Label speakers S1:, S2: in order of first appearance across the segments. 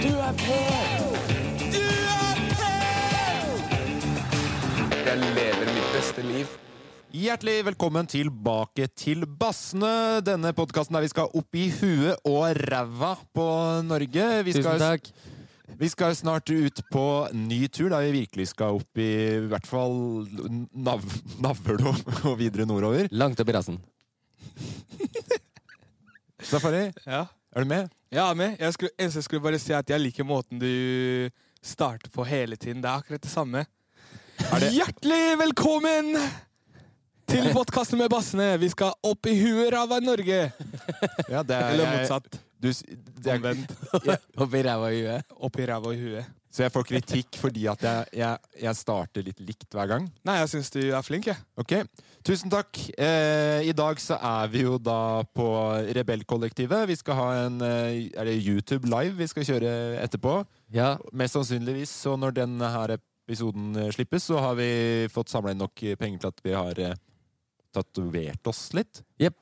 S1: Du er på! Du er på!
S2: Jeg lever mitt beste liv.
S3: Hjertelig velkommen tilbake til Bassene, denne podkasten der vi skal opp i huet og ræva på Norge. Vi skal,
S4: Tusen takk.
S3: Vi skal snart ut på ny tur, der vi virkelig skal opp i i hvert fall nav Navlelo og videre nordover.
S4: Langt opp i rassen.
S3: Safari,
S1: Ja.
S3: er du med?
S1: Jeg er med. Jeg skulle, eneste jeg skulle bare si at jeg liker måten du starter på hele tiden. Det er akkurat det samme.
S3: det-
S1: Hjertelig velkommen til podkasten med bassene. Vi skal opp i huet av Norge.
S3: Ja, det er-
S1: Eller
S3: jeg-
S1: motsatt.
S3: Du, s- det er,
S1: Omvendt.
S4: Opp i ræva i huet.
S1: Opp i ræva og i huet.
S3: så jeg får kritikk fordi at jeg, jeg, jeg starter litt likt hver gang.
S1: Nei, jeg syns du er flink, jeg.
S3: Ok, tusen takk. Eh, I dag så er vi jo da på Rebellkollektivet. Vi skal ha en eh, Er det YouTube Live vi skal kjøre etterpå?
S4: Ja.
S3: Mest sannsynligvis. Så når denne her episoden eh, slippes, så har vi fått samla inn nok eh, penger til at vi har eh, tatovert oss litt.
S4: Jepp.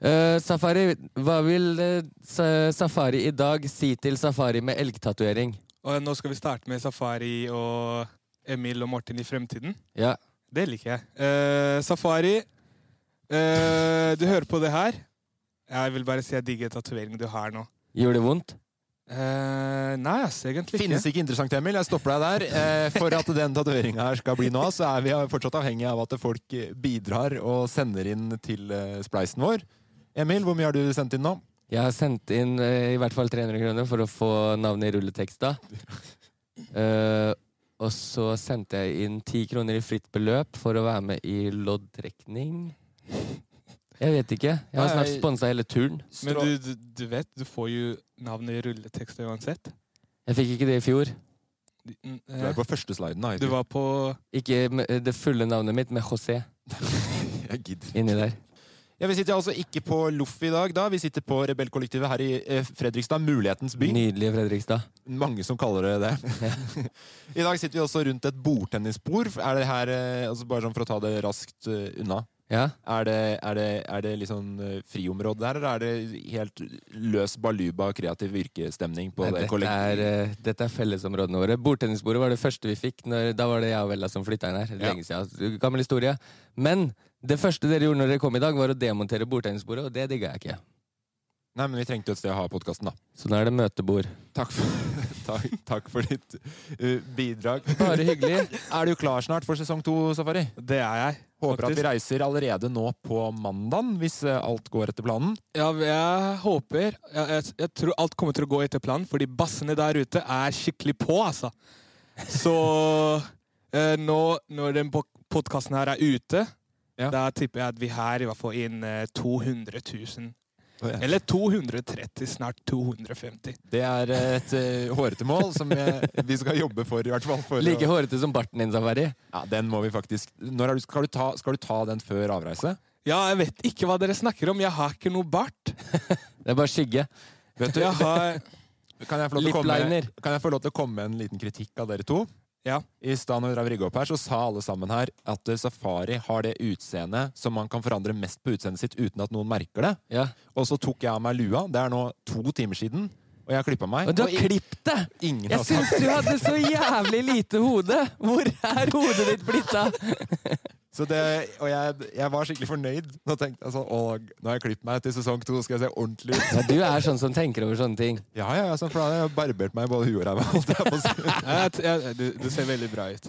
S4: Eh, safari, hva vil eh, sa Safari i dag si til Safari med elgtatovering?
S1: Og nå skal vi starte med Safari og Emil og Martin i fremtiden.
S4: Ja.
S1: Det liker jeg. Eh, Safari, eh, du hører på det her. Jeg vil bare si jeg digger tatoveringen du har nå.
S4: Gjorde det vondt?
S1: Eh, nei, ass, egentlig ikke.
S3: Finnes ikke interessant, Emil. Jeg stopper deg der. Eh, for at den tatoveringa her skal bli noe av, så er vi fortsatt avhengig av at folk eh, bidrar og sender inn til eh, spleisen vår. Emil, hvor mye har du sendt inn nå?
S4: Jeg har sendt inn eh, i hvert fall 300 kroner for å få navnet i rulleteksta. Eh, og så sendte jeg inn 10 kroner i fritt beløp for å være med i loddtrekning. Jeg vet ikke. Jeg har snart
S3: Nei.
S4: sponsa hele turen.
S1: Men du, du, du vet, du får jo navnet i rulletekster uansett.
S4: Jeg fikk ikke det i fjor.
S1: Mm, eh,
S3: Du er på første sliden, da.
S1: du
S3: Eivind.
S1: var på
S4: Ikke med- eh, det fulle navnet mitt, med José
S3: Jeg gidder.
S4: inni der.
S3: Ja, vi sitter altså ikke på Loff i dag, da. Vi sitter på Rebellkollektivet her i eh, Fredrikstad, mulighetens by.
S4: Nydelige Fredrikstad.
S3: Mange som kaller det det. I dag sitter vi også rundt et bordtennisbord. Er det her, eh, altså bare sånn for å ta det raskt eh, unna,
S4: Ja.
S3: er det, er det, er det liksom eh, friområde der, eller er det helt løs baluba kreativ yrkesstemning på
S4: Nei,
S3: det
S4: dette, er,
S3: kollektivet?
S4: eh, dette er fellesområdene våre. Bordtennisbordet var det første vi fikk. Når, da var det jeg og Vella som flytta inn her. Lenge siden. Altså, Gammel historie. Men det første dere gjorde når dere kom i dag, var å demontere bordtennisbordet, og det digga jeg ikke.
S3: Nei, men vi trengte jo et sted å ha podkasten, da.
S4: Så nå er det møtebord.
S3: Takk for, takk, takk for ditt eh, bidrag.
S4: Bare hyggelig.
S3: Er du klar snart for sesong to, Safari?
S1: Det er jeg.
S3: Håper at vi
S1: faktisk.
S3: reiser allerede nå på mandagen, hvis eh, alt går etter planen.
S1: Ja, jeg håper jeg, jeg, jeg tror alt kommer til å gå etter planen, fordi bassene der ute er skikkelig på, altså. Så eh, nå når den podkasten her er ute,
S3: Ja.
S1: da tipper jeg at vi her i hvert fall inn eh, 200 000.
S3: Det
S1: Eller 230, snart 250.
S3: er eh, et eh, hårete mål som eh, vi skal jobbe for, i hvert fall. For
S4: Like
S3: å,
S4: hårete som barten din, Safari.
S3: ja, den må vi faktisk Når er du, skal, du ta, skal du ta den før avreise?
S1: Ja, jeg vet ikke hva dere snakker om. Jeg har ikke noe bart.
S4: Det er bare skygge.
S3: Vet du,
S1: Jeg har
S3: kan, jeg få lov til å komme,
S4: Lipliner.
S3: kan jeg få lov til å komme med en liten kritikk av dere to?
S1: Ja.
S3: I stad når vi drev og rigget opp her, så sa alle sammen her at eh, Safari har det utseendet som man kan forandre mest på utseendet sitt uten at noen merker det.
S4: Ja.
S3: Og så tok jeg av meg lua. Det er nå to timer siden. Og jeg har klippa meg.
S4: Og du har
S3: i-
S4: klippet det!
S3: ingen
S4: Jeg
S3: har sagt
S4: syns du hadde så jævlig lite hode! Hvor er hodet ditt blitt av?
S3: Så det, og jeg, jeg var skikkelig fornøyd. Nå tenkte jeg sånn, å, nå har jeg klippet meg til sesong to, skal jeg se ordentlig ut.
S4: Ja, du er sånn som tenker over sånne ting.
S3: Ja, ja, ja, sånn, for da har jeg barbert meg i både huet og ræva. holdt jeg på å si.
S1: Jeg, jeg, du, du ser veldig bra ut.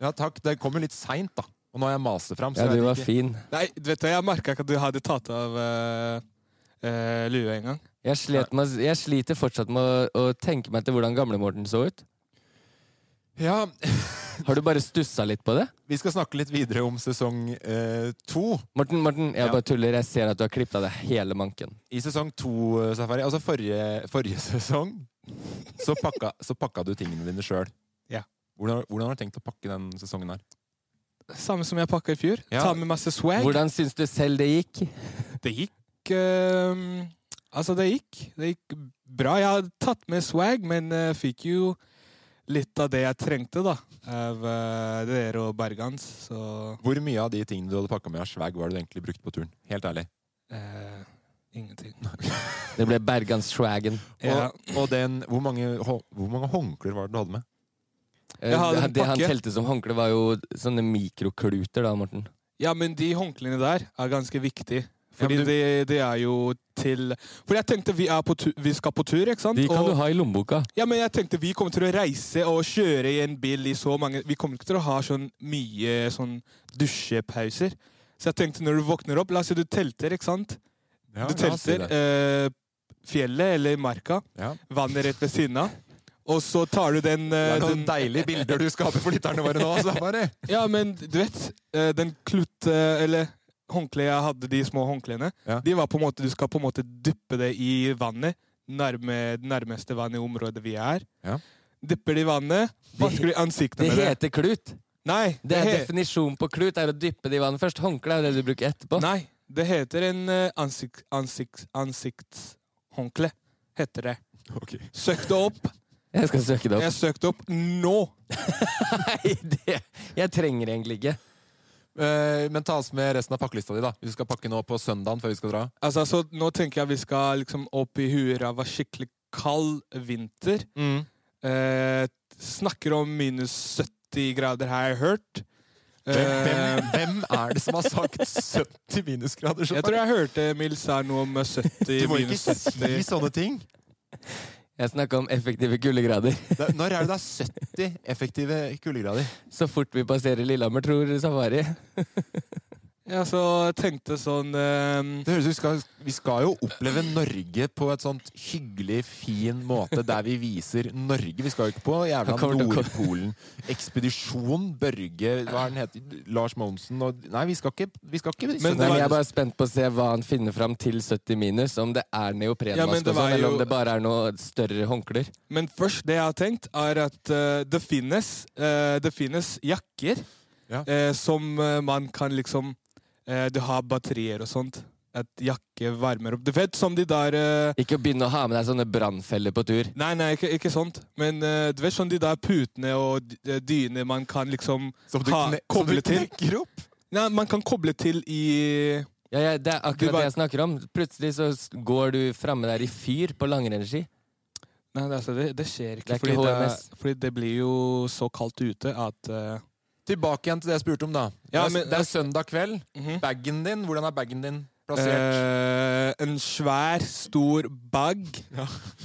S3: Ja, takk. Det kom jo litt seint, da. Og nå har jeg mast det fram. så
S4: Ja,
S3: jeg
S4: du
S3: vet
S4: var
S3: ikke-
S4: fin.
S1: Nei, vet du, hva, jeg merka ikke at du hadde tatt av eh, eh, lue en gang.
S4: Jeg, slet med, jeg sliter fortsatt med å, å tenke meg til hvordan gamle-Morten så ut.
S3: Ja,
S4: Har du bare stussa litt på det?
S3: Vi skal snakke litt videre om sesong eh, to.
S4: Morten, Morten, jeg
S3: Ja.
S4: bare tuller. Jeg ser at du har klippa deg hele manken.
S3: I sesong to, eh, Safari, altså forrige, forrige sesong, så pakka, så pakka du tingene dine sjøl.
S1: Ja.
S3: Hvordan, hvordan har du tenkt å pakke den sesongen her?
S1: Samme som jeg pakka i fjor.
S3: Ja.
S1: Ta med masse swag.
S4: Hvordan syns du selv det gikk?
S1: Det gikk eh, Altså, det gikk. Det gikk bra. Jeg hadde tatt med swag, men eh, fikk jo litt av det jeg trengte, da. Av eh, dere og Bergans, så
S3: Hvor mye av de tingene du hadde pakka med av swag, var det du egentlig brukte på turen? Helt ærlig.
S1: eh, Ingenting.
S4: Det ble Bergans-swagen.
S1: Ja.
S3: Og, og den, hvor mange, hå- hvor mange håndklær var det du hadde med?
S4: Eh,
S1: Jeg hadde en
S4: Det han
S1: pakke.
S4: telte som håndkle, var jo sånne mikrokluter, da, Morten.
S1: ja, men de håndklærne der er ganske viktige. Fordi
S3: men du-
S1: det de er jo til Fordi jeg tenkte vi, er på tu vi skal på tur, ikke sant?
S4: De kan
S1: Og-
S4: du ha i lommeboka.
S1: Ja, men jeg tenkte vi kommer til å reise og kjøre i en bil i så mange Vi kommer ikke til å ha sånn mye sånn dusjepauser. Så jeg tenkte når du våkner opp La oss si du telter, ikke sant?
S3: Ja,
S1: Du
S3: la oss si
S1: telter
S3: det.
S1: eh, fjellet eller marka.
S3: Ja.
S1: Vannet rett ved siden av. Og så tar du den,
S3: Det
S1: eh,
S3: er noen
S1: den
S3: deilige bilder du skaper for lytterne våre nå, altså, Safari!
S1: Ja, men du vet eh, Den klutte Eller håndkleet jeg hadde, de små håndklærne,
S3: Ja.
S1: de var på en måte Du skal på en måte dyppe det i vannet. Nærme, nærmeste vann i området vi er.
S3: Ja.
S1: Dypper det i vannet, vasker de ansiktet
S4: Det
S1: med det.
S4: heter klut.
S1: Nei,
S4: Det
S1: det
S4: er
S1: he-
S4: Definisjonen på klut er å dyppe det i vannet først. Håndkle er det du bruker etterpå.
S1: Nei, det heter en eh, ansikt, ansikt, ansiktshåndkle. Heter det.
S3: Ok.
S1: Søk det opp.
S4: Jeg skal søke det opp.
S1: Jeg søkte opp nå.
S4: Nei, det, jeg trenger egentlig ikke.
S3: Eh, men ta oss med resten av pakkelista di, da. Vi skal pakke nå på søndagen før vi skal dra.
S1: Altså, så nå tenker jeg vi skal liksom opp i huet av en skikkelig kald vinter.
S3: Mm.
S1: Eh, snakker om minus 70 grader, har jeg hørt.
S3: Hvem,
S1: Eh,
S3: hvem, hvem er det som har sagt 70 minusgrader?
S1: jeg tror jeg hørte Mils her noe om 70
S3: du må ikke
S1: minus 70.
S3: si sånne ting!
S4: Jeg snakka om effektive kuldegrader.
S3: Det, er- når er det det er 70 effektive kuldegrader?
S4: Så fort vi passerer Lillehammer, tror Safari.
S1: Ja, så tenkte sånn eh,
S3: Det høres ut som vi skal- Vi skal jo oppleve Norge på et sånt hyggelig, fin måte der vi viser Norge. Vi skal jo ikke på jævla
S4: Han kommer til å komme-
S3: Nordpolen. Ekspedisjon Børge Hva er den heter? Lars Monsen og Nei, vi skal ikke, vi skal ikke
S1: Men det
S4: Nei,
S1: var-
S4: men jeg er bare spent på å se hva han finner fram til 70 minus. Om det er
S1: Ja, men
S4: neoprenmaske
S1: det var
S4: og sånn, eller
S1: jo-
S4: om det bare er noe større håndklær.
S1: Men først, det jeg har tenkt, er at eh, det, finnes, eh, det finnes jakker
S3: Ja.
S1: eh, som eh, man kan liksom eh, Du har batterier og sånt. At jakke varmer opp. Du vet, som de der eh,
S4: Ikke å begynne å ha med deg sånne brannfeller på tur.
S1: Nei, nei, ikke, ikke sånt. Men eh, du vet sånn de der putene og d- eh, dyner man kan liksom
S3: Som du,
S1: ha,
S3: kne, som du
S1: koble til.
S3: knekker opp!
S1: Nei, man kan koble til i
S4: Ja, ja, det er
S1: Du
S4: akkurat
S1: bare-
S4: det jeg snakker om. Plutselig så s- går du framme der i fyr på langrennsski.
S1: Nei, det, altså, det, det skjer ikke.
S4: Det er
S1: fordi,
S4: ikke HMS.
S1: det, fordi det blir jo så kaldt ute at eh,
S3: Tilbake igjen til det jeg spurte om, da. det,
S1: Ja,
S3: er,
S1: men-
S3: det er søndag kveld.
S1: Mhm.
S3: Baggen din, hvordan er baggen din plassert?
S1: Eh, en svær, stor bag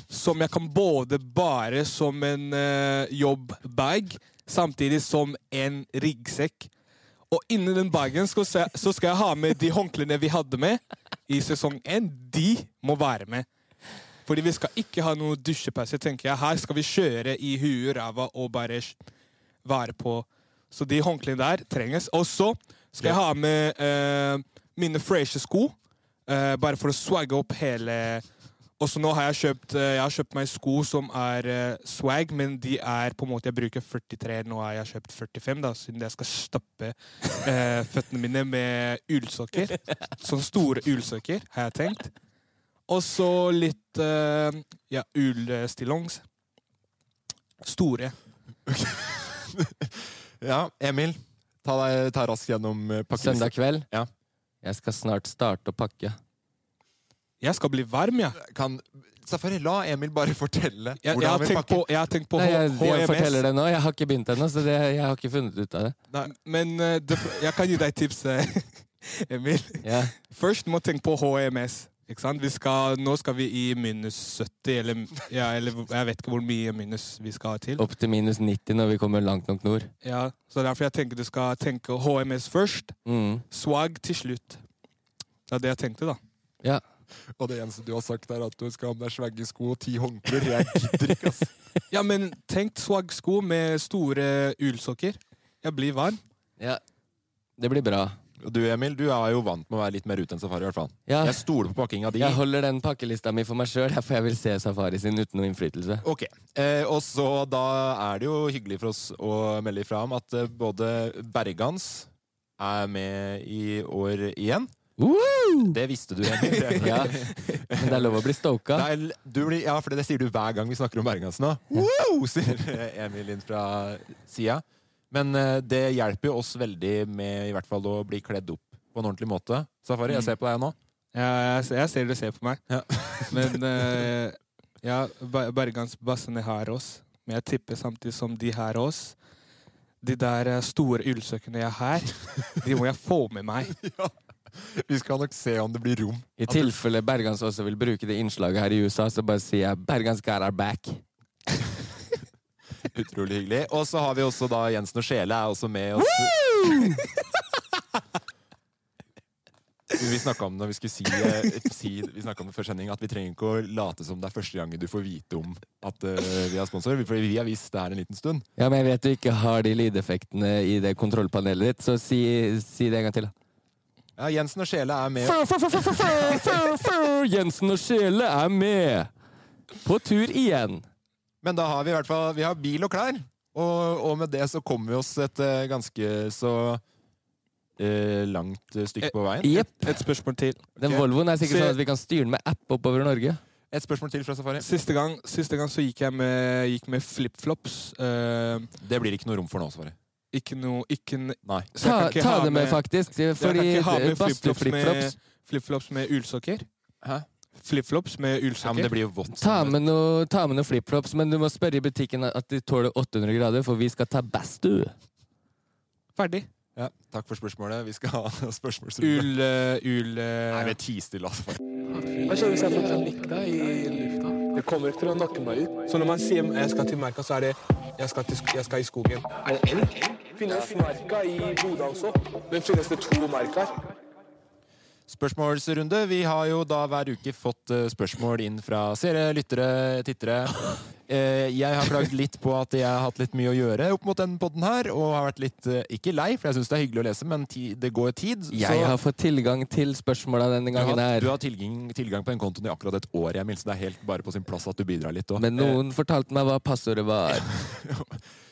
S1: som jeg kan både bare som en eh, jobbbag, samtidig som en ryggsekk. Og inni den bagen skal se, så skal jeg ha med de håndklærne vi hadde med i sesong én. De må være med. Fordi vi skal ikke ha noe dusjepause, tenker jeg. Her skal vi kjøre i huet, ræva og bare sj- være på. Så de håndklærne der trenges. Og så skal jeg ha med eh, mine freshe sko, eh, bare for å swagge opp hele Og så nå har jeg kjøpt eh, Jeg har kjøpt meg sko som er eh, swag, men de er på en måte Jeg bruker 43, nå har jeg kjøpt 45, da, siden jeg skal stappe eh, føttene mine med ullsokker. Sånne store ullsokker, har jeg tenkt. Og så litt eh, ja, ullstillongs. Store.
S3: Ja, Emil. Ta, deg, ta raskt gjennom eh, pakken.
S4: Søndag kveld.
S3: Ja.
S4: Jeg skal snart starte å pakke.
S1: Jeg skal bli varm, jeg.
S3: Kan, Safari, la Emil bare fortelle
S1: Jeg, jeg,
S3: hvordan
S1: har,
S3: han vil
S1: tenkt
S3: pakke.
S1: på, jeg har tenkt på
S4: Nei, jeg,
S1: H-
S4: jeg forteller
S1: HMS.
S4: det nå. Jeg har ikke begynt ennå, så det, jeg har ikke funnet ut av det.
S1: Nei, men eh, det, jeg kan gi deg et tips, eh, Emil.
S4: Ja.
S1: Først må tenke på HMS. Ikke sant? Vi skal, nå skal vi i minus 70, eller, ja, eller jeg vet ikke hvor mye minus vi skal til.
S4: Opp til minus 90 når vi kommer langt nok nord.
S1: Ja, så Derfor jeg tenker du skal tenke HMS først,
S4: Mm.
S1: swag til slutt. Det er det jeg tenkte, da.
S4: Ja.
S3: Og det eneste du har sagt, er at du skal ha med deg svagge sko og ti håndklær. Jeg gidder ikke, ass.
S1: Ja, men tenk swag-sko med store ullsokker. Jeg blir varm.
S4: ja. Det blir bra.
S3: Og Du, Emil, du er jo vant med å være litt mer ute enn Safari. i hvert fall.
S4: Ja.
S3: Jeg stoler på pakkinga di.
S4: Jeg holder den pakkelista mi for meg sjøl, derfor jeg vil se Safari sin uten noe innflytelse.
S3: Ok, eh, og så Da er det jo hyggelig for oss å melde ifra om at eh, både Bergans er med i år igjen. Det visste du, Emil. Det-
S4: Ja. Men det er lov å bli stoka.
S3: Det er, du blir, ja, for det sier du hver gang vi snakker om Bergans nå. Wow, sier Emil inn fra sida. Men eh, det hjelper jo oss veldig med i hvert fall å bli kledd opp på en ordentlig måte. Safari,
S4: Mm.
S3: jeg ser på deg nå.
S1: Ja, jeg, jeg ser du ser på meg.
S3: Ja.
S1: Men eh, ja, Ber- Bergansbassene har oss. Men jeg tipper samtidig som de har oss. De der eh, store ullsøkene jeg har, de må jeg få med meg.
S3: Vi skal nok se om det blir rom.
S4: I tilfelle Bergans også vil bruke det innslaget her i USA, så bare sier jeg 'Bergans got our back'.
S3: Utrolig hyggelig. Og så har vi også da Jensen og Sjele er også med oss. Vi snakka om det når vi skulle si, eh, si Vi snakket om det før sending at vi trenger ikke å late som det er første gangen du får vite om at eh, vi har sponsor. For vi har visst det her en liten stund.
S4: Ja, men jeg vet du ikke har de lydeffektene i det kontrollpanelet ditt, så si, si det en gang til. da.
S3: Ja, Jensen og Sjele er med.
S4: Fur, fur, fur, fur, fur, fur, fur, fur. Jensen og Sjele er med! På tur igjen.
S3: Men da har vi i hvert fall Vi har bil og klær. Og, og med det så kommer vi oss et eh, ganske så eh, langt eh, stykke på veien.
S4: Jepp.
S1: Et spørsmål til.
S4: Den
S3: Ok.
S4: Volvoen er
S1: Se-
S4: sikkert sånn at vi kan styre den med app oppover Norge.
S3: Et spørsmål til fra Safari.
S1: Siste gang, siste gang så gikk jeg med, gikk med flipflops. eh,
S3: Det blir ikke noe rom for nå, Safari.
S1: ikke noe ikke, n-
S3: Nei.
S1: så jeg
S4: Ta,
S1: kan ikke
S4: ta
S1: ha
S4: det med, faktisk.
S1: jeg kan
S4: Fordi
S1: ikke ha med
S4: Badstue
S1: flipflops
S4: flipflops
S1: med, flipflops med ullsokker.
S3: Hæ?
S1: Flipflops med
S3: Ja, men
S1: ullsokker.
S3: det blir jo vått.
S4: Ta med noe, ta med noe flipflops, men du må spørre i butikken at de tåler 800 grader, for vi skal ta Badstue.
S1: Ferdig.
S3: Ja, takk for spørsmålet. Vi skal ha spørsmålsrunde.
S1: Ull, eh, ull eh,
S3: Nei, men ti stille, altså. faen.
S2: Hva skjer hvis jeg får panikk da i lufta? Det kommer ikke til å nakke meg ut.
S1: Så når man sier jeg skal til merka, så er det jeg skal, til, sk- jeg skal i skogen.
S2: Er det elg? Finnes merka i Bodø også? Men finnes det to merker?
S3: Spørsmålsrunde. Vi har jo da hver uke fått eh, spørsmål inn fra seere, lyttere, tittere. Eh, Jeg har klagd litt på at jeg har hatt litt mye å gjøre opp mot den podden her, og har vært litt eh, ikke lei, for jeg syns det er hyggelig å lese, men ti, det går tid. så-
S4: Jeg har fått tilgang til spørsmåla denne
S3: du har,
S4: gangen her.
S3: du har tilgang, tilgang på den kontoen i akkurat et år, Emil, så det er helt bare på sin plass at du bidrar litt. også. Eh,
S4: Men noen fortalte meg hva passordet var.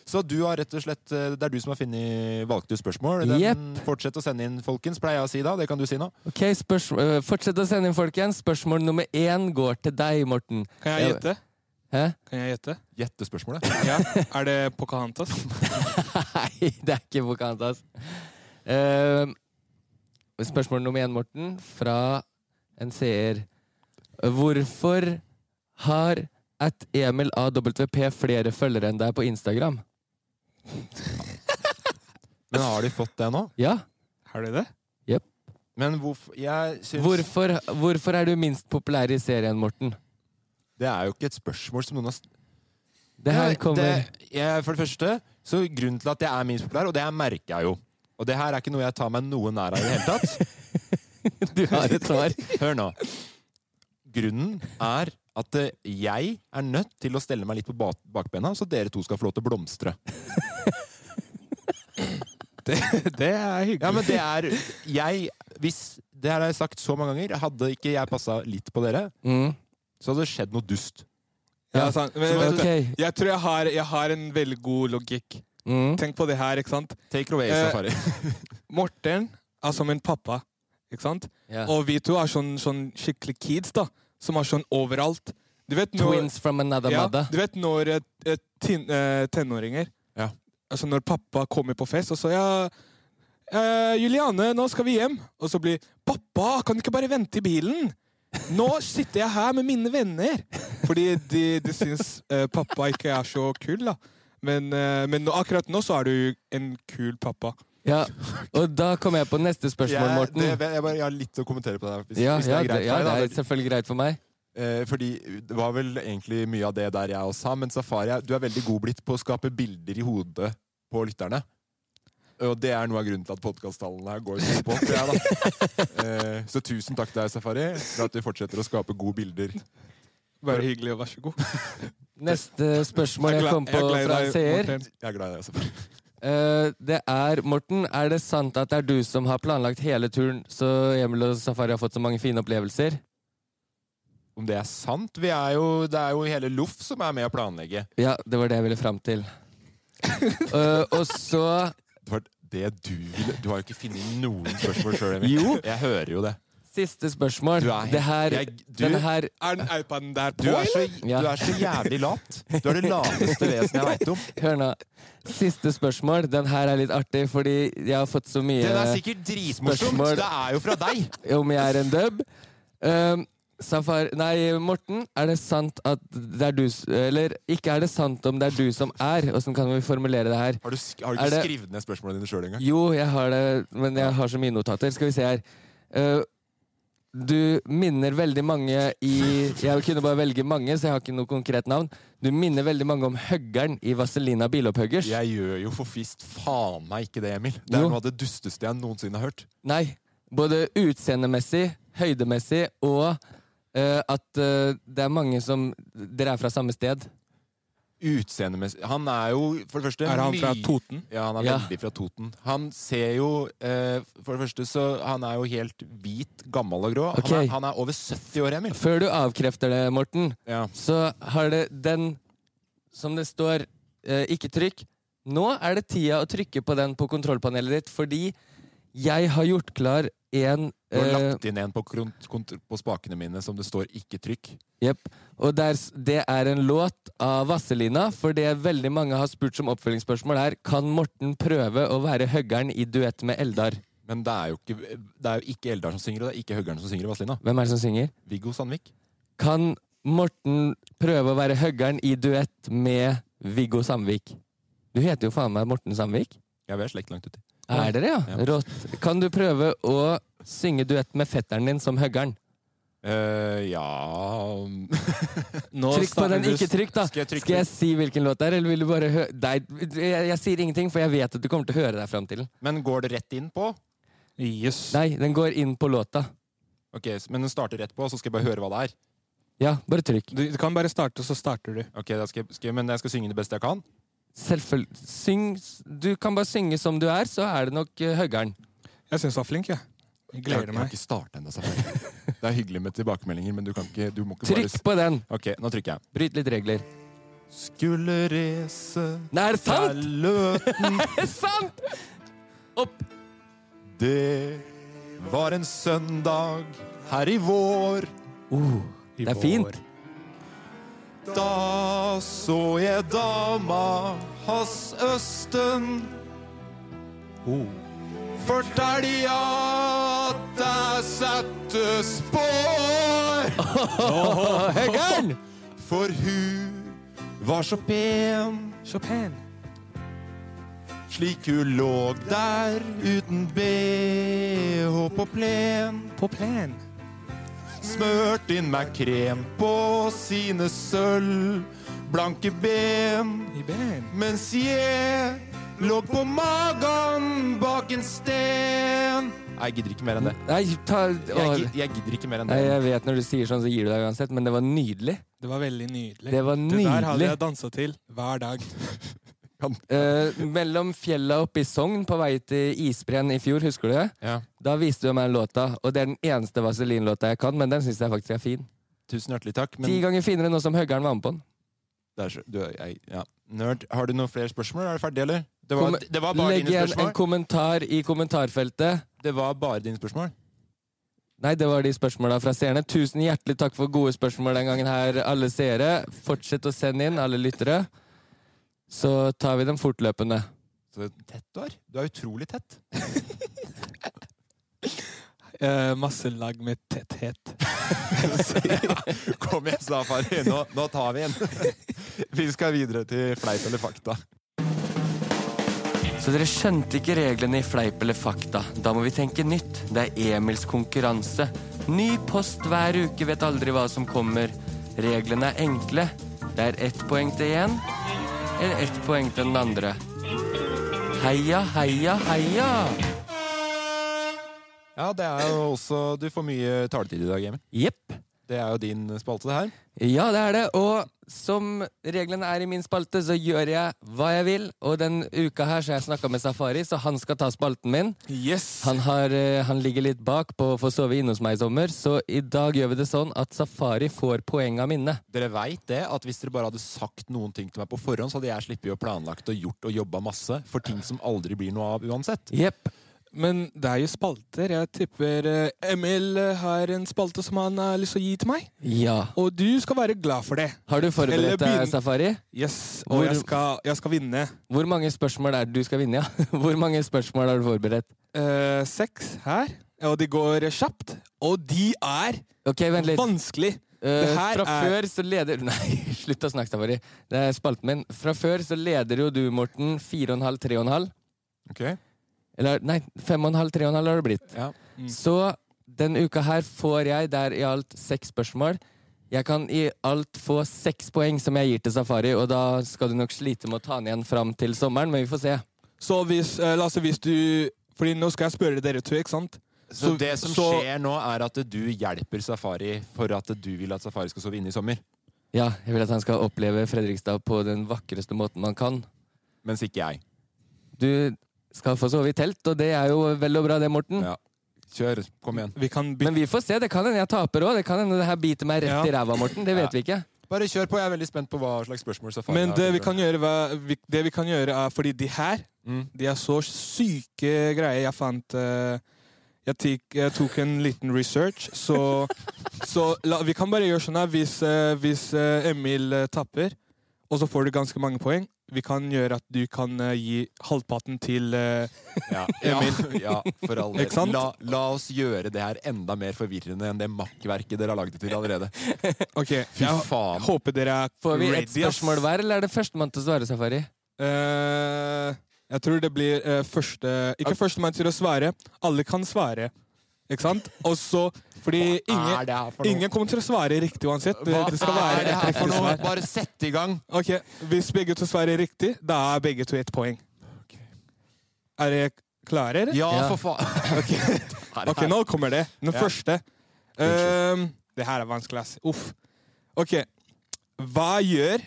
S3: Så du har rett og slett eh, Det er du som har funnet valgte ut spørsmål. Den
S4: Jepp.
S3: Fortsett å sende inn, folkens, pleier jeg å si da. Det kan du si nå.
S4: Ok, spørsm- øh, Fortsett å sende inn, folkens. Spørsmål nummer én går til deg, Morten.
S1: Kan jeg gjette?
S4: Hæ?
S1: Kan jeg gjette?
S3: Gjette spørsmålet.
S1: Ja. Er det Pocahontas?
S4: Nei, det er ikke Pocahontas. Uh, spørsmål nummer én, Morten, fra en seer. Hvorfor har at Emil AWP flere følgere enn deg på Instagram?
S3: Men har de fått det nå?
S4: Ja.
S1: Har du det?
S3: Men hvorfor Jeg syns
S4: Hvorfor, hvorfor er du minst populær i serien, Morten?
S3: Det er jo ikke et spørsmål som noen har s-
S4: Det her
S3: Ja,
S4: kommer
S3: det- jeg, For det første, så grunnen til at jeg er minst populær, og det her merker jeg jo Og det her er ikke noe jeg tar meg noe nær av i det hele tatt.
S4: Du har et svar.
S3: Hør nå. Grunnen er at eh, jeg er nødt til å stelle meg litt på ba- bakbena, så dere to skal få lov til å blomstre.
S1: Det er hyggelig.
S3: Ja, men det er Jeg Hvis Det her har jeg sagt så mange ganger. Hadde ikke jeg passa litt på dere,
S4: Mm.
S3: så hadde det skjedd noe dust.
S1: Ja, sant. Men,
S3: Så
S1: vet du,
S4: Ok.
S1: Jeg tror jeg har, jeg har en veldig god logikk.
S4: Mm.
S1: Tenk på det her, ikke sant?
S3: Take it away,
S1: Eh,
S3: Safari.
S1: Morten er som en pappa, ikke sant?
S4: Ja.
S1: Og vi to er sånn, sånn skikkelig kids, da. Som er sånn overalt. Du vet når,
S4: Twins from another
S1: ja,
S4: mother.
S1: du vet når eh, eh, tin, eh, tenåringer
S3: Ja.
S1: Altså når pappa kommer på fest, og så ja, eh, 'Juliane, nå skal vi hjem.' Og så blir 'Pappa, kan du ikke bare vente i bilen?' Nå sitter jeg her med mine venner! Fordi de, de syns eh, pappa ikke er så kul, da. Men, eh, men nå, akkurat nå så er du en kul pappa.
S4: Ja. Og da kommer jeg på neste spørsmål,
S3: Jeg-
S4: Morten.
S3: det- jeg, bare, jeg har litt å kommentere på det her, hvis,
S4: Ja,
S3: hvis det
S4: ja,
S3: er greit.
S4: det, ja,
S3: for deg,
S4: det
S3: da.
S4: er selvfølgelig greit for meg.
S3: Eh, fordi det var vel egentlig mye av det der jeg også sa, men Safari, du er veldig god blitt på å skape bilder i hodet på lytterne. Og det er noe av grunnen til at podkasttallene her går sånn på. Tror jeg, da. Eh, så tusen takk til deg, Safari, for at du fortsetter å skape gode bilder.
S1: Bare hyggelig, og vær så god.
S4: Neste spørsmål jeg
S1: gla-
S4: kom på
S1: er glad i
S4: fra
S1: deg,
S4: en seer,
S1: Morten.
S3: Jeg er glad i deg, Safari.
S4: eh, det er Morten, er det sant at det er du som har planlagt hele turen, så Emil og Safari har fått så mange fine opplevelser?
S3: Om det er sant? Vi er jo, det er jo hele Loff som er med å planlegge.
S4: Ja, det var det jeg ville fram til. Eh, og så
S3: Det var det du ville Du har jo ikke funnet noen spørsmål sjøl,
S4: Jo.
S3: Jeg hører jo det.
S4: siste spørsmål.
S3: Du er helt-
S4: Det her,
S3: jeg- du-
S4: denne her
S1: Er den iPaden der på,
S3: Du er så,
S1: eller?
S4: Ja.
S3: du er så jævlig lat. Du er det lateste vesenet jeg veit om.
S4: Hør nå. Siste spørsmål. Den her er litt artig, fordi jeg har fått så mye
S3: Den er sikkert dritmorsomt.
S4: Spørsmål.
S3: Det er jo fra deg!
S4: om jeg er en dub. Ehm, Safar... Nei, Morten, er det sant at det er du s- Eller ikke er det sant om det er du som er? Åssen kan vi formulere det her?
S3: Har du, sk- har du
S4: Er
S3: ikke
S4: det-
S3: skrevet ned spørsmålene dine sjøl engang?
S4: Jo, jeg har det, men jeg har så mye notater. Skal vi se her. Eh, du minner veldig mange i Jeg kunne bare velge mange, så jeg har ikke noe konkret navn. Du minner veldig mange om Høggern i Vazelina Bilopphuggers.
S3: Jeg gjør jo for visst faen meg ikke det, Emil. Det er
S4: Jo.
S3: noe av det dusteste jeg noensinne har hørt.
S4: Nei. Både utseendemessig, høydemessig og eh, at eh, det er mange som Dere er fra samme sted.
S3: Utseendemessig Han er jo for det første
S1: Er han fra
S3: mye-
S1: Toten?
S3: Ja, han er
S4: Ja.
S3: veldig fra Toten. Han ser jo eh, For det første så Han er jo helt hvit, gammel og grå. Han,
S4: Ok.
S3: er, han er over 70 år, Emil.
S4: Før du avkrefter det, Morten,
S3: Ja.
S4: så har det den Som det står eh, Ikke trykk. Nå er det tida å trykke på den på kontrollpanelet ditt, fordi jeg har gjort klar en
S3: Du har
S4: eh,
S3: lagt inn en på, kron- kont- på spakene mine som det står 'ikke trykk'.
S4: Jepp. Og der, s- det er en låt av Vazelina, for det veldig mange har spurt som oppfølgingsspørsmål, er Kan Morten prøve å være høggeren i duett med Eldar?
S3: Men det er jo ikke, det er jo ikke Eldar som synger, og det er ikke Høggern som synger i Vazelina.
S4: Hvem er det som synger?
S3: Viggo Sandvik.
S4: Kan Morten prøve å være høggeren i duett med Viggo Samvik? Du heter jo faen meg Morten Samvik.
S3: Ja, vi er slekt langt uti.
S4: Er dere, ja?
S3: Ja.
S4: Rått. Kan du prøve å synge duett med fetteren din som høggeren?
S3: Eh, ja um,
S1: Nå
S4: Trykk på
S1: snakker
S4: den,
S1: du-
S4: ikke trykk, da!
S3: Skal jeg trykke
S4: Skal jeg si hvilken låt det er, eller vil du bare høre Nei, jeg, jeg sier ingenting, for jeg vet at du kommer til å høre deg fram til den.
S3: Men går det rett inn på?
S1: Yes.
S4: Nei, den går inn på låta.
S3: Ok, s- Men den starter rett på, så skal jeg bare høre hva det er.
S4: Ja, bare trykk.
S1: Du, du kan bare starte, og så starter du.
S3: Ok, da skal jeg, skal, jeg- Men jeg skal synge det beste jeg kan.
S4: Selvfølgelig. Syng Du kan bare synge som du er, så er det nok eh, høggeren.
S1: Jeg syns du var flink, jeg. Jeg
S3: Jeg,
S1: gleder
S3: jeg har
S1: meg.
S3: ikke starta ennå. Safari. Det er hyggelig med tilbakemeldinger, men du, kan ikke, du må ikke bare
S4: Trykk
S3: s-
S4: på den!
S3: Ok, nå trykker jeg.
S4: Bryt litt regler.
S3: Skulle reise
S4: Nei, er det
S3: fra
S4: sant?!
S3: Løten
S4: Er det sant?! Opp!
S3: Det var en søndag her i vår.
S4: Det er fint.
S3: Da så jeg dama hans Østen. Fortælja at det satte spår.
S4: Høggeren!
S3: For hun var så pen,
S1: Chopin.
S3: slik hun lå der uten bh på plen.
S1: På plen.
S3: Smørt inn med krem på sine sølvblanke ben.
S1: I ben.
S3: Mens jeg lå på magen bak en sten. Nei, jeg gidder ikke mer enn det.
S4: Nei, ta
S3: Jeg,
S4: å,
S3: gi- jeg gidder ikke mer enn det.
S4: Nei, jeg vet når du sier sånn, så gir du deg uansett, men det var nydelig.
S1: Det var veldig nydelig.
S4: Det var
S1: der hadde
S4: nydelig.
S1: jeg dansa til hver dag.
S4: Eh, mellom fjella oppe i Sogn på vei til isbreen i fjor, husker du det?
S3: Ja.
S4: Da viste du meg låta, og det er den eneste Vaselin-låta jeg kan, men den syns jeg faktisk er fin.
S3: Tusen hjertelig takk.
S4: Ti
S3: Men
S4: ganger finere nå som Høggern var med på den.
S3: det er så, du, er- jeg, ja. Nerd, har du noen flere spørsmål? Er du ferdig, eller? Det
S4: Kom-
S3: var, det var bare
S4: Legg
S3: dine
S4: igjen en
S3: spørsmål.
S4: kommentar i kommentarfeltet.
S3: Det var bare dine spørsmål.
S4: Nei, det var de spørsmåla fra seerne. Tusen hjertelig takk for gode spørsmål den gangen her, alle seere. Fortsett å sende inn, alle lyttere. Så tar vi dem fortløpende.
S3: Så tett du er. Du er utrolig tett.
S1: Eh, masse lag med tetthet.
S3: Kom igjen, Safari. Nå, nå tar vi en. Vi skal videre til fleip eller fakta.
S4: Så dere skjønte ikke reglene i Fleip eller fakta. Da må vi tenke nytt. Det er Emils konkurranse. Ny post hver uke, vet aldri hva som kommer. Reglene er enkle. Det er ett poeng til én, eller ett poeng til den andre. Heia, heia, heia!
S3: Ja, det er jo også Du får mye taletid i dag, Emil.
S4: Jepp.
S3: Det er jo din spalte, det her.
S4: Ja, det er det. Og som reglene er i min spalte, så gjør jeg hva jeg vil. Og den uka her så har jeg snakka med Safari, så han skal ta spalten min.
S1: Yes!
S4: Han, har, eh, han ligger litt bak på å få sove inne hos meg i sommer, så i dag gjør vi det sånn at Safari får poeng av minne.
S3: Dere veit det, at hvis dere bare hadde sagt noen ting til meg på forhånd, så hadde jeg sluppet å planlagt og gjort og jobba masse for ting som aldri blir noe av uansett.
S4: Jepp.
S1: Men det er jo spalter. Jeg tipper eh, Emil eh, har en spalte som han har lyst til å gi til meg.
S4: Ja.
S1: Og du skal være glad for det.
S4: Har du
S1: Eller
S4: forberedt deg,
S1: begynn-
S4: Safari?
S1: Yes, Og
S4: Hvor-
S1: jeg skal, jeg skal vinne.
S4: Hvor mange spørsmål er det du skal vinne, ja? Hvor mange spørsmål har du forberedt?
S1: Eh, seks her, og de går eh, kjapt. Og de er
S4: Ok, vent litt.
S1: vanskelig.
S4: Eh,
S1: det her
S4: fra
S1: er-
S4: før så leder Nei, slutt å snakke, Safari. Det er spalten min. Fra før så leder jo du, Morten, fire og en halv, tre og en halv.
S3: Ok.
S4: Eller nei, fem og en halv, tre og en halv har det blitt.
S3: Ja.
S4: Så den uka her får jeg der i alt seks spørsmål. Jeg kan i alt få seks poeng som jeg gir til Safari, og da skal du nok slite med å ta den igjen fram til sommeren, men vi får se.
S1: Så hvis, eh, Lasse, hvis du Fordi nå skal jeg spørre dere to, ikke sant?
S3: Så
S1: Så-
S3: det som
S1: så-
S3: skjer nå, er at du hjelper Safari for at du vil at Safari skal sove inne i sommer.
S4: Ja, jeg vil at han skal oppleve Fredrikstad på den vakreste måten man kan.
S3: Mens ikke jeg.
S4: Du skal få sove i telt, og det er jo vel og bra, det,
S1: Mm.
S4: Morten.
S3: Ja. Kjør. Kom igjen.
S1: Vi kan bytte
S4: Men vi får se. Det kan hende jeg taper òg. Det kan hende det her biter meg rett
S1: Ja.
S4: i ræva, Morten. Det vet vi ikke.
S3: Bare kjør på. Jeg er veldig spent på hva slags spørsmål Safari
S1: Men
S3: har.
S1: det Mm. vi kan gjøre, hva- vi- det vi kan gjøre er Fordi de her, de er så syke greier. Jeg fant eh, jeg, tik- jeg tok en liten research, så, så la, vi kan bare gjøre sånn her hvis, eh, hvis eh, Emil eh, tapper, og så får du ganske mange poeng. Vi kan gjøre at du kan eh, gi halvparten til eh,
S3: Ja, Emil. Ja, for all del.
S1: Ikke sant?
S3: La, la oss gjøre det her enda mer forvirrende enn det makkverket dere har lagd det til allerede.
S1: OK,
S3: Fy
S1: jeg
S3: faen.
S1: håper dere er
S4: Får vi ett
S1: ready, ass.
S4: spørsmål hver, eller er det førstemann til å svare, Safari?
S1: Eh, jeg tror det blir eh, første Ikke førstemann til å svare. Alle kan svare. Ikke sant? Og så Fordi
S3: er
S1: ingen,
S3: det her for noe?
S1: ingen kommer til å svare riktig uansett. Det, det skal være et
S3: her
S1: riktig svar.
S3: Bare sett i gang!
S1: Ok, Hvis begge to svarer riktig, da er begge to ett poeng. Er dere klare, eller?
S3: Ja,
S4: Ja.
S3: for faen!
S1: Ok, nå kommer det. Den
S3: Ja.
S1: første. Um, det her er vanskelig, ass. Uff. Ok. Hva gjør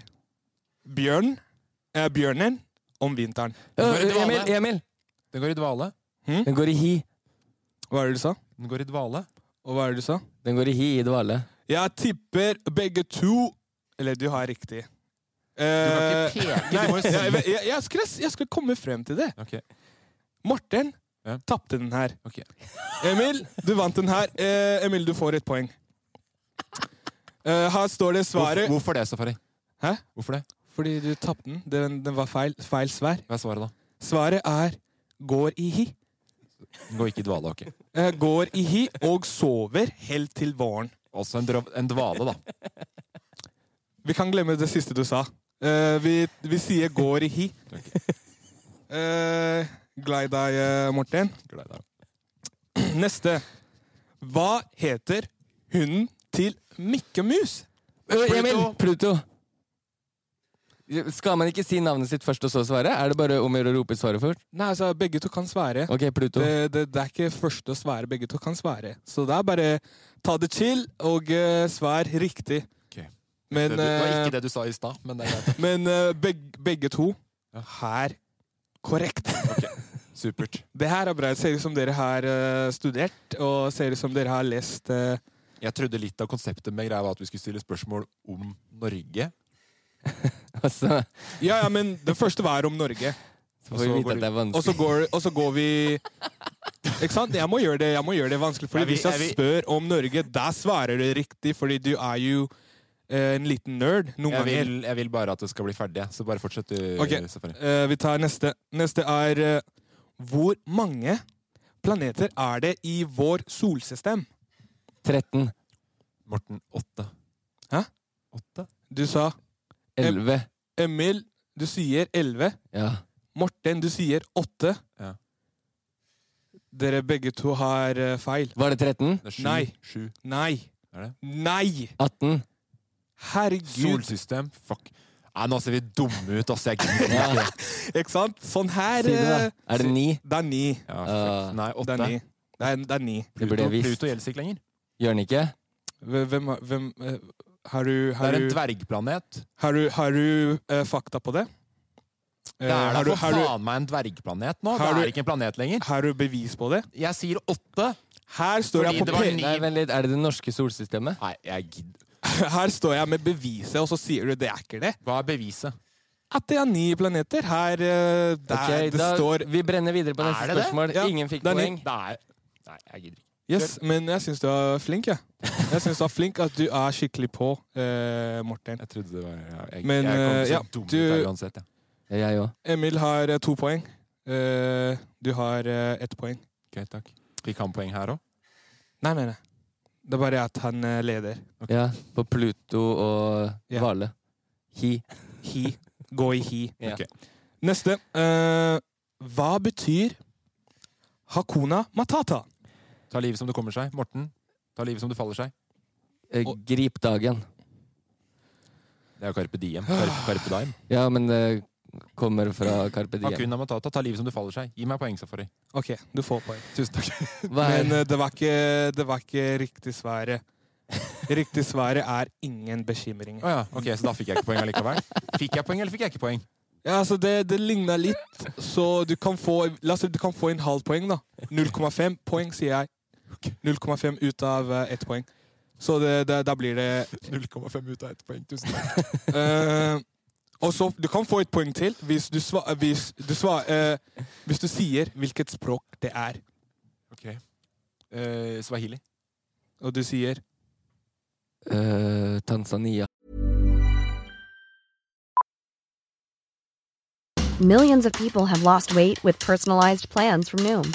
S1: bjørn, eh, bjørnen om vinteren?
S4: Øh,
S3: i dvale. Mm?
S4: Emil! Emil!
S3: Den går i dvale.
S4: Den går i hi.
S1: Hva er det du sa?
S3: Den går i dvale.
S1: Og hva er det du sa?
S4: Den går i hi i dvale.
S1: Jeg tipper begge to Eller du har riktig. Eh,
S3: Du må jo si-
S1: jeg, jeg, jeg, skulle, jeg skulle komme frem til det.
S3: Ok.
S1: Morten
S3: Ja.
S1: tapte den her.
S3: Ok.
S1: Emil, du vant den her. Eh, Emil, du får et poeng. Eh, her står det
S3: Hvorfor,
S1: svaret
S3: hvorfor det, Safari?
S1: Hæ?
S3: Hvorfor det?
S1: Fordi du tapte den. den. Den var feil, feil svar.
S3: Hva er svaret, da?
S1: Svaret er går i hi.
S3: Den går ikke i dvale. ok.
S1: Eh, går i hi og sover helt til våren.
S3: Altså en, dra- en dvale, da.
S1: Vi kan glemme det siste du sa. Eh, vi, vi sier 'går i hi'. Eh, glad i deg, eh, Morten.
S3: Glad i deg.
S1: Neste. Hva heter hunden til Mikke Mus?
S4: Øh, Emil! Pluto! Skal man ikke si navnet sitt først og så svare? Er det bare om å gjøre å rope svaret først?
S1: Nei, altså, begge to kan svare.
S4: Ok, Pluto.
S1: Det, det, det er ikke første å svare. Begge to kan svare. Så det er bare ta det chill og eh, svar riktig.
S3: Ok.
S1: Men,
S3: Det, det var
S1: eh,
S3: ikke det du sa i stad, men det er greit.
S1: men eh, beg, begge to her korrekt.
S3: Supert.
S1: Det her er bra. Det ser ut som dere har eh, studert, og ser ut som dere har lest eh,
S3: Jeg trodde litt av konseptet med greia var at vi skulle stille spørsmål om Norge.
S4: Altså,
S1: Ja, ja, men det første var om Norge.
S4: så får vi vite at det er
S1: Og så
S4: vanskelig.
S1: går, og så går vi Ikke sant? Jeg må gjøre det, jeg må gjøre det vanskelig. Fordi
S3: Er vi-
S1: Hvis jeg
S3: er vi-
S1: spør om Norge, da svarer du riktig, fordi du er jo eh, en liten nerd. Noen
S3: Jeg
S1: ganger.
S3: vil, jeg vil bare at det skal bli ferdig. Så bare fortsett, du,
S1: Ok.
S3: Safari.
S1: Eh, vi tar neste. Neste er eh, Hvor mange planeter er det i vår solsystem?
S4: 13,
S3: Morten, åtte.
S1: Hæ?
S3: Åtte?
S1: Du sa
S4: 11
S1: Emil, du sier 11.
S4: Ja.
S1: Morten, du sier 8.
S3: Ja.
S1: Dere begge to har eh, feil.
S4: Var det 13?
S3: Det er sju.
S1: Nei.
S3: Sju.
S1: Nei.
S3: Er det?
S1: Nei!
S4: 18?
S1: Herregud.
S3: Solsystem. Fuck. Nei, nå ser vi dumme ut, ass. Jeg gidder ikke.
S1: Ikke sant? Sånn her
S4: Si det, da.
S1: eh,
S4: Er det 9?
S1: Det er ni.
S3: Ja, fuck. Nei,
S1: Uh, Det
S3: åtte.
S1: er ni. Det er, det er ni.
S4: Det burde
S3: Pluto,
S4: jeg visst.
S3: Pluto gjelder ikke lenger.
S4: Gjør den ikke?
S1: Hvem, hvem, hvem eh, Har du,
S3: Det
S1: har
S3: er en
S1: du,
S3: dvergplanet.
S1: har du, har du eh, fakta på det? Eh,
S3: Det er da
S1: har, du,
S3: for
S1: har, du,
S3: faen meg en dvergplanet nå. Det
S1: Har du-
S3: er ikke en planet lenger.
S1: har du bevis på det?
S3: Jeg sier åtte.
S1: Her
S3: Fordi
S1: står, jeg på
S3: det var
S1: pe-
S3: ni.
S4: Nei, vent litt. Er det det norske solsystemet?
S3: Nei, jeg gidder.
S1: her står jeg med beviset, og så sier du det er ikke det?
S3: Hva er beviset?
S1: At det er ni planeter. Her eh, der,
S4: Ok,
S1: det
S4: da,
S1: står
S4: vi brenner videre på neste
S3: det det?
S4: spørsmål.
S1: Ja,
S4: Ingen fikk
S1: det er ni.
S4: poeng.
S3: Det er Nei, jeg gidder ikke.
S1: Yes, men jeg syns du er flink, jeg. Jeg syns du er flink at du er skikkelig på, eh, Morten.
S3: Jeg trodde det var Jeg, jeg,
S1: Men,
S3: jeg kommer til å
S1: eh,
S3: se
S1: ja,
S3: dum ut
S1: du-
S3: her uansett. Ja.
S4: Ja, jeg òg.
S1: Emil har eh, to poeng. Eh, du har eh, ett poeng.
S3: Greit, takk. Fikk han poeng her òg?
S1: Nei, nei, nei. Det er bare at han eh, leder.
S4: Ja, på Pluto og
S1: Ja.
S4: Hvale. Hi.
S1: Hi. Gå i hi.
S4: Ja.
S3: Ok.
S1: Neste. Eh, hva betyr Hakuna Matata?
S3: Ta livet som det kommer seg. Morten, ta livet som det faller seg.
S4: Eh,
S1: Og-
S4: Grip dagen.
S3: Det er jo Carpe Diem. Carpe, carpe Diem.
S4: Ja, men det kommer fra Carpe Diem.
S3: Hakuna Matata, ta livet som det faller seg. Gi meg poeng, Safari.
S1: OK, du får poeng.
S3: Tusen takk.
S4: Hva
S1: Men
S4: er
S1: eh, det var ikke, det var ikke riktig svaret. Riktig svaret er ingen bekymringer.
S3: Å ja, ok, Så da fikk jeg ikke poeng allikevel. Fikk jeg poeng, eller fikk jeg ikke poeng?
S1: Ja, altså det, det ligna litt, så du kan få La oss si du kan få en halv poeng, da. 0,5 poeng, sier jeg. 0,5 ut av eh, ett poeng. Så det, det, da blir det
S3: 0,5 ut av ett poeng. Tusen takk.
S1: eh, Og så Du kan få et poeng til hvis du, sva, hvis, du sva, eh, hvis du sier hvilket språk det er.
S3: Ok. Eh, Swahili.
S1: Og du sier
S4: Eh, Tanzania?
S5: Millions of people have lost weight with personalized plans from Noom,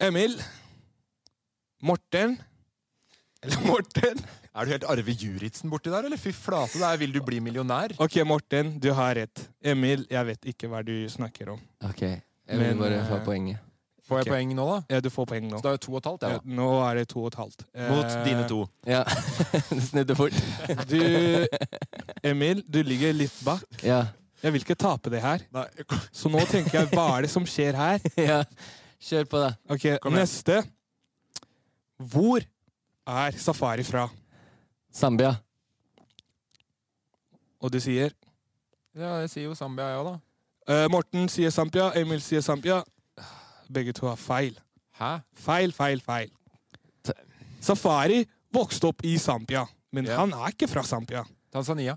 S1: Emil. Morten. Eller Morten.
S3: Er du helt Arve Juritzen borti der, eller? Fy flate, det er Vil du bli millionær?
S1: Ok, Morten, du har rett. Emil, jeg vet ikke hva du snakker om.
S4: Ok, jeg vil
S1: Men,
S4: bare få
S1: eh,
S4: poenget.
S3: Får jeg
S1: Ok.
S3: poeng nå, da?
S1: Ja, Eh, du får poeng nå.
S3: Så det er jo to og et halvt,
S1: Ja,
S3: jeg,
S1: nå er det to og et halvt.
S3: da. Mot
S1: Eh,
S3: dine to.
S4: Ja, det snudde fort.
S1: Du, Emil, du ligger litt bak.
S4: Ja,
S1: Jeg vil ikke tape det her.
S3: Nei,
S1: Så nå tenker jeg, hva er det som skjer her?
S4: ja. Kjør på, da.
S1: Ok, neste. Hvor er Safari fra?
S4: Zambia.
S1: Og du sier
S3: Eh, ja, jeg sier jo Zambia, jeg òg, da.
S1: eh, Morten sier Sampia, Emil sier Sampia. Begge to har feil.
S3: Hæ?
S1: Feil, feil, feil. Safari vokste opp i Sampia, men
S3: Ja.
S1: han er ikke fra Sampia.
S3: Tanzania.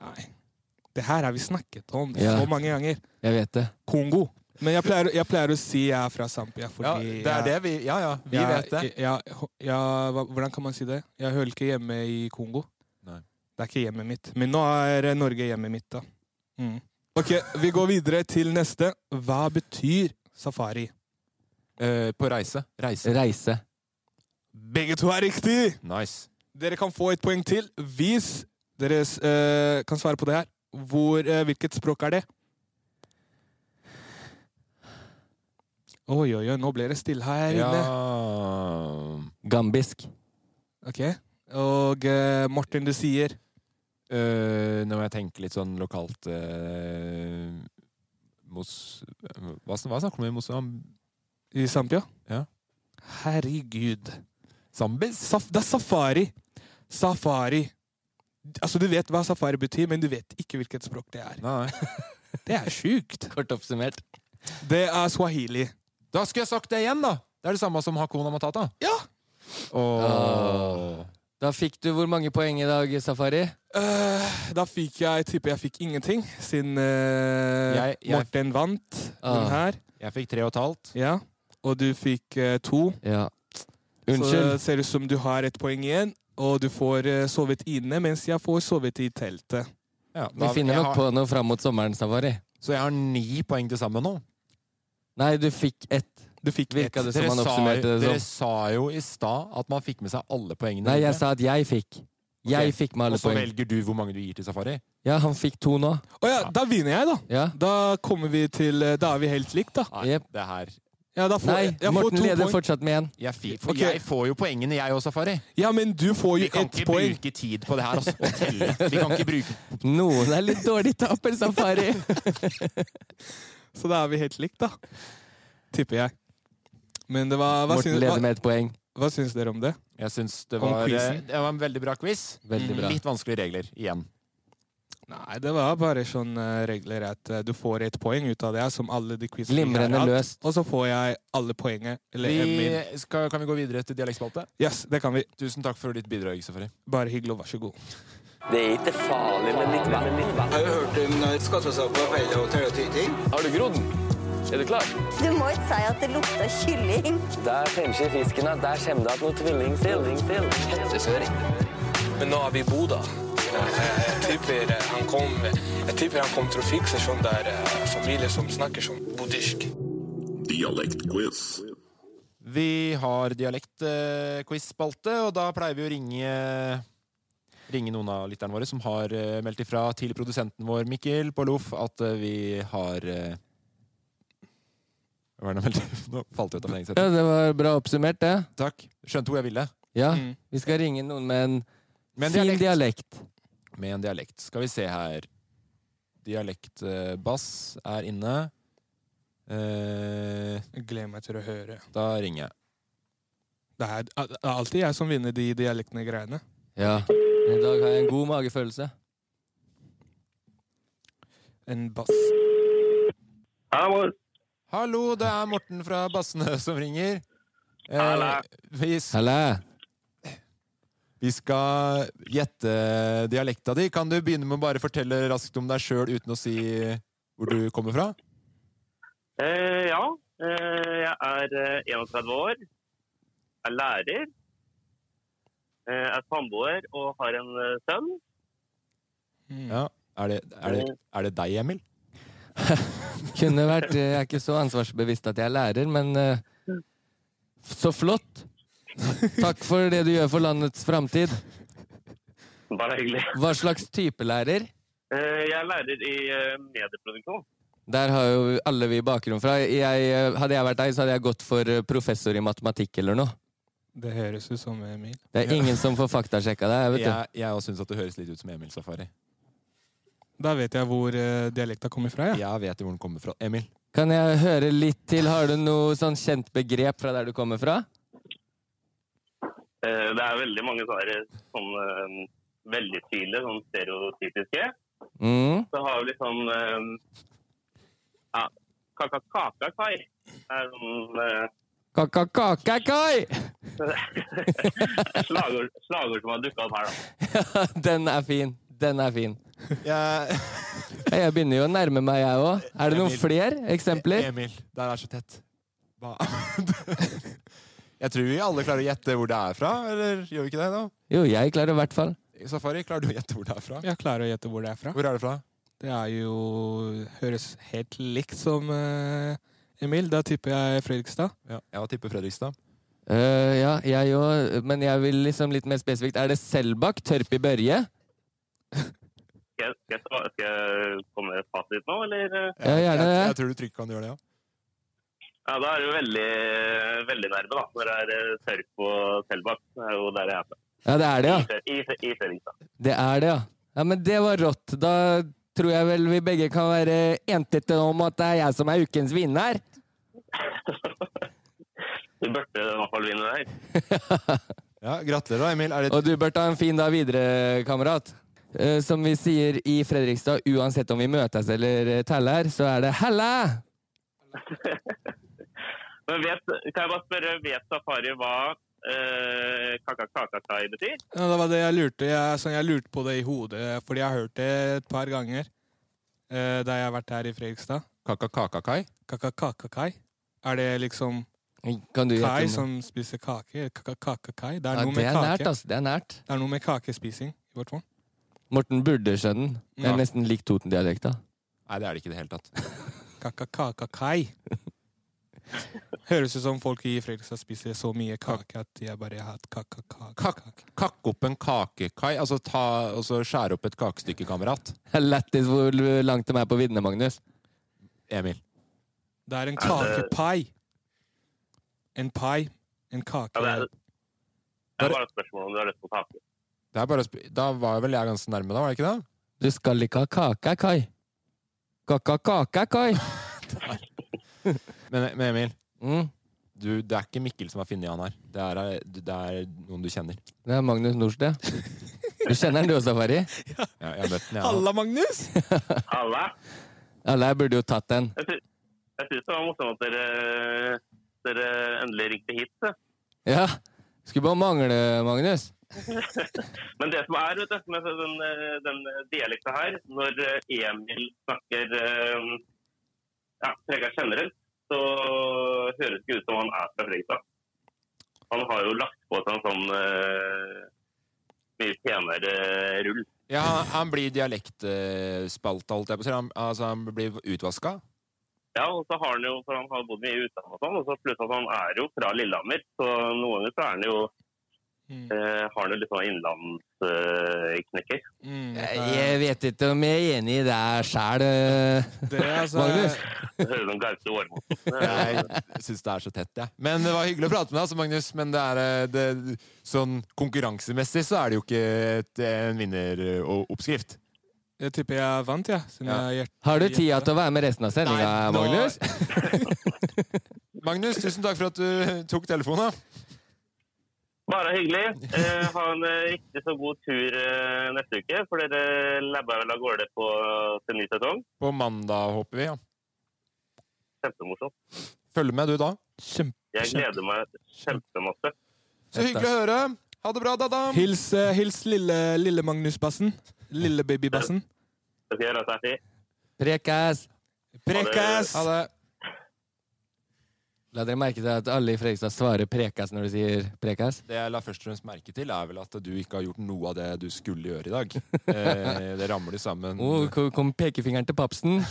S1: Nei. Det her har vi snakket om
S4: Ja.
S1: så mange ganger.
S4: Jeg vet det.
S1: Kongo. Men jeg pleier, jeg pleier å si jeg er fra Sampia
S3: Ja,
S1: fordi
S3: det er det vi Ja ja, vi
S1: jeg,
S3: vet det.
S1: Jeg, jeg, jeg- hva- hvordan kan man si det? Jeg hører ikke hjemme i Kongo.
S3: Nei.
S1: Det er ikke hjemmet mitt. Men nå er eh, Norge hjemmet mitt, da. Mm. Ok, vi går videre til neste. Hva betyr safari?
S3: Eh, på reise. Reise.
S4: Reise.
S1: Begge to er riktig!
S3: Nice.
S1: Dere kan få et poeng til hvis dere eh, kan svare på det her. Hvor, eh, hvilket språk er det? Oi, oi, oi, nå ble det stille her
S3: Ja
S1: inne.
S4: Gambisk.
S1: Ok. Og eh, Morten, du sier
S3: Eh, Nå må jeg tenke litt sånn lokalt eh, Mos... Hva, sn- hva snakker vi om? Mosam-
S1: i Sampia?
S3: Ja.
S1: Herregud.
S3: Zambis?
S1: Saf det er safari. Safari. Altså, du vet hva safari betyr, men du vet ikke hvilket språk det er.
S3: Nei.
S1: Det er sjukt.
S4: Kort oppsummert.
S1: Det er swahili.
S3: Da skulle jeg sagt det igjen, da! Det er det samme som Hakuna Matata.
S1: Ja!
S3: Åh.
S4: Da fikk du hvor mange poeng i dag, Safari?
S1: Eh, da fikk jeg tipper jeg fikk ingenting, siden eh,
S3: Jeg- jeg-
S1: Morten vant den
S4: Ah.
S1: her.
S3: Jeg fikk tre og et halvt.
S1: Ja. Og du fikk eh, to.
S4: Ja. Unnskyld.
S1: Så det ser ut som du har et poeng igjen, og du får eh, sovet inne, mens jeg får sovet i teltet.
S3: Ja,
S4: Vi
S3: da-
S4: finner
S3: jeg
S4: nok
S3: har,
S4: på noe fram mot sommeren, Safari.
S3: Så jeg har ni poeng til sammen nå.
S4: Nei, du fikk ett.
S1: Du fikk
S4: Virka det som
S3: Dere
S4: han
S3: sa,
S4: oppsummerte det
S3: dere
S4: som?
S3: sa jo i stad at man fikk med seg alle poengene.
S4: Nei,
S3: dine.
S4: jeg sa at jeg fikk. Jeg
S3: Ok.
S4: fikk med alle
S3: Og så
S4: poeng.
S3: velger du hvor mange du gir til Safari.
S4: Ja, han fikk to nå.
S1: Å ja, da vinner jeg, da.
S4: Ja.
S1: Da kommer vi til eh, Da er vi helt likt, da.
S4: Jep.
S3: Det her
S1: Ja, da får,
S4: Nei,
S1: jeg- jeg får
S4: Morten
S1: to
S4: leder
S1: poeng.
S4: fortsatt med én.
S3: jeg, fi- for
S1: Ok.
S3: jeg får jo poengene, jeg òg, Safari.
S1: Ja, men du får
S3: Vi
S1: jo
S3: kan
S1: ett
S3: ikke
S1: poeng.
S3: bruke tid på det her altså, og telle. Vi kan ikke bruke
S4: Noen er litt dårlig taper, Safari.
S1: Så da er vi helt likt, da. Tipper jeg. Men det var Hva,
S4: Morten
S1: syns,
S4: leder
S1: hva,
S4: med ett poeng.
S1: hva syns dere om det?
S3: Jeg syns det
S1: Om
S3: var, eh,
S1: quizen?
S3: det var en veldig bra quiz.
S4: Veldig bra.
S3: Litt vanskelige regler igjen.
S1: Nei, det var bare sånne regler at eh, du får et poeng ut av det, som alle de quizene vi har
S4: Glimrende
S1: hatt.
S4: løst.
S1: Og så får jeg alle poenget. Eller
S3: Vi,
S1: Emil.
S3: skal, kan vi gå videre til dialektspalte?
S1: Yes, det kan vi.
S3: Tusen takk for ditt bidrag, Safari.
S1: Bare hyggelig, og vær så god.
S6: Det er ikke farlig med litt vann.
S7: Har du hørt om skattesag på feil og tøyting?
S4: Har du grodd? Er du klar?
S8: Du må ikke si at det lukter kylling.
S6: Der tenker fisken at der kommer det at noe tvilling til. Hettesøring.
S1: Men nå er vi i Bodø. Jeg tipper eh, han kom Jeg tipper han kom til å fikse sånn der familie som snakker sånn bodisk.
S3: Vi har dialektquiz-spalte, og da pleier vi å ringe Ringe noen av lytterne våre som har eh, meldt ifra til produsenten vår Mikkel på Loff at eh, vi har eh, Hva er det han meldte? Nå falt jeg ut av meningen.
S4: Ja, det var bra oppsummert, det.
S3: Takk. Skjønte hvor jeg ville.
S4: Ja,
S1: Mm.
S4: Vi skal ringe noen med en
S3: Med en
S4: fin
S3: dialekt.
S4: dialekt.
S3: Med en dialekt. Skal vi se her. Dialektbass er inne. Eh,
S1: Gleder meg til å høre.
S3: da ringer jeg.
S1: Det er det er alltid jeg som vinner de dialektene greiene.
S4: Ja. I dag har jeg en god magefølelse.
S1: En bass.
S3: Hallo, det er Morten fra Bassene som ringer. Eh, vi, s-
S4: Halla!
S3: vi skal gjette dialekta di. Kan du begynne med å bare fortelle raskt om deg sjøl uten å si hvor du kommer fra?
S7: ja, eh, jeg er eh, 31 år, er lærer, eh, er samboer og har en eh, sønn.
S1: Mm.
S3: Ja. Er det, er det, er det deg, Emil?
S4: Kunne vært eh, Jeg er ikke så ansvarsbevisst at jeg er lærer, men eh, Så flott! Takk for det du gjør for landets framtid.
S7: Bare hyggelig.
S4: Hva slags type lærer?
S7: Eh, Jeg er lærer i eh, medieproduksjon.
S4: Der har jo alle vi bakgrunn fra. Jeg, eh, hadde jeg vært deg, så hadde jeg gått for eh, professor i matematikk eller noe.
S1: Det høres ut som Emil.
S4: Det er ingen som får faktasjekka deg, vet du.
S3: Jeg, jeg også syns at det høres litt ut som Emil Safari.
S1: Da vet jeg hvor eh, dialekta kommer fra. Ja.
S3: Jeg vet jo hvor den kommer fra. Emil.
S4: Kan jeg høre litt til? Har du noe sånn kjent begrep fra der du kommer fra?
S7: Eh, Det er veldig mange svar som eh, veldig tydelige, sånn stereotypiske.
S4: Mm.
S7: Så har vi litt sånn eh, ja, kaka-kaka-kai. Det er sånn eh,
S4: Kaka-kaka-kai!
S7: slagord, slagord som har dukka opp her, da.
S4: Den er fin. Den er fin.
S3: Jeg,
S4: Jeg begynner jo å nærme meg, jeg òg. Er det noen
S3: Emil.
S4: flere eksempler?
S3: Emil, der er så tett. Hva? Jeg tror vi alle klarer å gjette hvor det er fra, eller gjør vi ikke det? da?
S4: Jo, jeg klarer i hvert fall.
S3: Safari, klarer du å gjette hvor det er fra?
S1: Jeg klarer å gjette hvor det er fra.
S3: Hvor er det fra?
S1: Det er jo Høres helt likt som eh, Emil. Da tipper jeg Fredrikstad.
S3: Ja, jeg tipper Fredrikstad.
S4: Øh, ja, jeg òg, men jeg vil liksom litt mer spesifikt. Er det Selbakk? Tørp i Børje?
S7: Skal jeg, skal jeg, sva- skal jeg komme med et fasit nå, eller? eh?
S4: Ja, gjerne
S3: jeg, jeg
S4: det.
S3: tror du trygt kan gjøre det, ja.
S7: Ja, da er du veldig, Eh, veldig nærme, da. Når det er eh, Tørp og Selbakk. Det er jo der jeg er fra.
S4: Ja, det er det, ja.
S7: I, Fre- i Fredrikstad.
S4: Det er det, ja. Ja, Men det var rått. Da tror jeg vel vi begge kan være entete om at det er jeg som er ukens vinner.
S7: Du burde i hvert fall vinne der.
S3: ja. Gratulerer, da, Emil. Er det
S4: Og du bør ta en fin dag videre, kamerat. Eh, Som vi sier i Fredrikstad, uansett om vi møtes eller eh, teller, så er det 'halla'!
S7: Men vet, kan jeg bare spørre, vet Safari hva eh, kaka-kaka-kai betyr?
S1: Ja, det var det jeg lurte. Jeg, sånn, jeg lurte på det i hodet, fordi jeg har hørt det et par ganger eh, da jeg har vært her i Fredrikstad.
S3: kaka-kaka-kai?
S1: Kaka-kaka-kai. Er det liksom
S4: Kan du
S1: kai
S4: gjette? om-
S1: som spiser kake? Kaka-kaka-kai? Det
S4: Ja,
S1: er noe
S4: det
S1: med
S4: er nært,
S1: kake.
S4: altså. Det er nært.
S1: Det er noe med kakespising i hvert fall.
S4: Morten burde skjønne den. Det er
S1: Ja.
S4: nesten lik Toten-dialekta.
S3: Nei, det er det ikke i det hele tatt.
S1: Kaka-kaka-kai. Høres ut som folk i Fredrikstad spiser så mye kake at jeg bare har hatt kaka-kaka.
S3: Kakke opp en kakekai? Altså, ta, altså skjære opp et kakestykke, kamerat.
S4: Lættis hvor langt de er på viddene, Magnus.
S3: Emil.
S1: Det er en
S7: Ja, det-
S1: kakepai. En pai. En kake.
S7: Ja, det, er, det er bare et spørsmål om du har lyst til å ta på.
S3: Det er bare, å sp- da var vel jeg ganske nærme, da? var det ikke det?
S4: Du skal ikke ha kake, Kai. Kaka-kaka-kai.
S3: Men, men Emil,
S4: Mm.
S3: du, det er ikke Mikkel som har funnet han her. Det er, eh, det er noen du kjenner.
S4: Det er Magnus Nors, det. Du kjenner den du også, Safari?
S3: Ja, jeg har møtt den, jeg.
S1: Halla, Magnus!
S7: Alle?
S4: Alle her burde jo tatt den.
S7: Jeg sy- jeg syns det var morsomt at dere, eh, dere endelig ringte hit. da.
S4: Ja. Skulle bare mangle, Magnus.
S7: Men det som er vet du, med den, eh, den dialekten her, når eh, Emil snakker eh, ja, Frekka generelt, så høres det ikke ut som han er fra Fredrikstad. Han har jo lagt på seg en sånn eh, mye penere rull.
S3: Ja, han, han blir dialektspalta, holdt jeg på å si. Han, altså, han blir utvaska.
S7: Ja, og så har han jo, for han har bodd mye i utlandet og sånn, og så plutselig at han er jo fra Lillehammer, så noen ganger så er han jo
S1: Mm.
S7: eh, har han jo litt sånn innlandsknekker.
S1: Mm,
S4: Jeg vet ikke om jeg er enig i deg sjæl,
S1: det, er altså,
S4: Magnus.
S7: Det høres ut som Gaute Årmoen.
S3: Jeg syns det er så tett, jeg. Men det var hyggelig å prate med deg, altså, Magnus. Men det er, eh, det, sånn konkurransemessig så er det jo ikke et, en vinneroppskrift.
S1: Jeg tipper jeg vant, jeg. Siden
S3: Ja.
S1: jeg er hjert-
S4: Har du tida til å være med resten av sendinga,
S3: Nei, nå-
S4: Magnus?
S3: Magnus, tusen takk for at du tok telefonen. da.
S7: Bare hyggelig. Eh, ha en eh, riktig så god tur eh, neste uke, for dere labber vel av gårde på til ny sesong.
S3: På mandag, håper vi. ja.
S7: Kjempemorsomt.
S3: Følg med, du, da.
S7: Jeg gleder meg kjempemasse.
S3: Så hyggelig å høre. Ha det bra, Dada.
S1: Hils, eh, hils lille, lille Magnus-bassen. Lille baby-bassen.
S7: Det skal gjøre seg fint.
S4: Prekas.
S1: Prekas!
S3: Ha det.
S4: La dere merke til at alle i Fredrikstad svarer prekas når du sier prekas?
S3: Det jeg la først og fremst merke til, er vel at du ikke har gjort noe av det du skulle gjøre i dag. Eh, det ramler sammen.
S4: Å, hvor kom pekefingeren til papsen?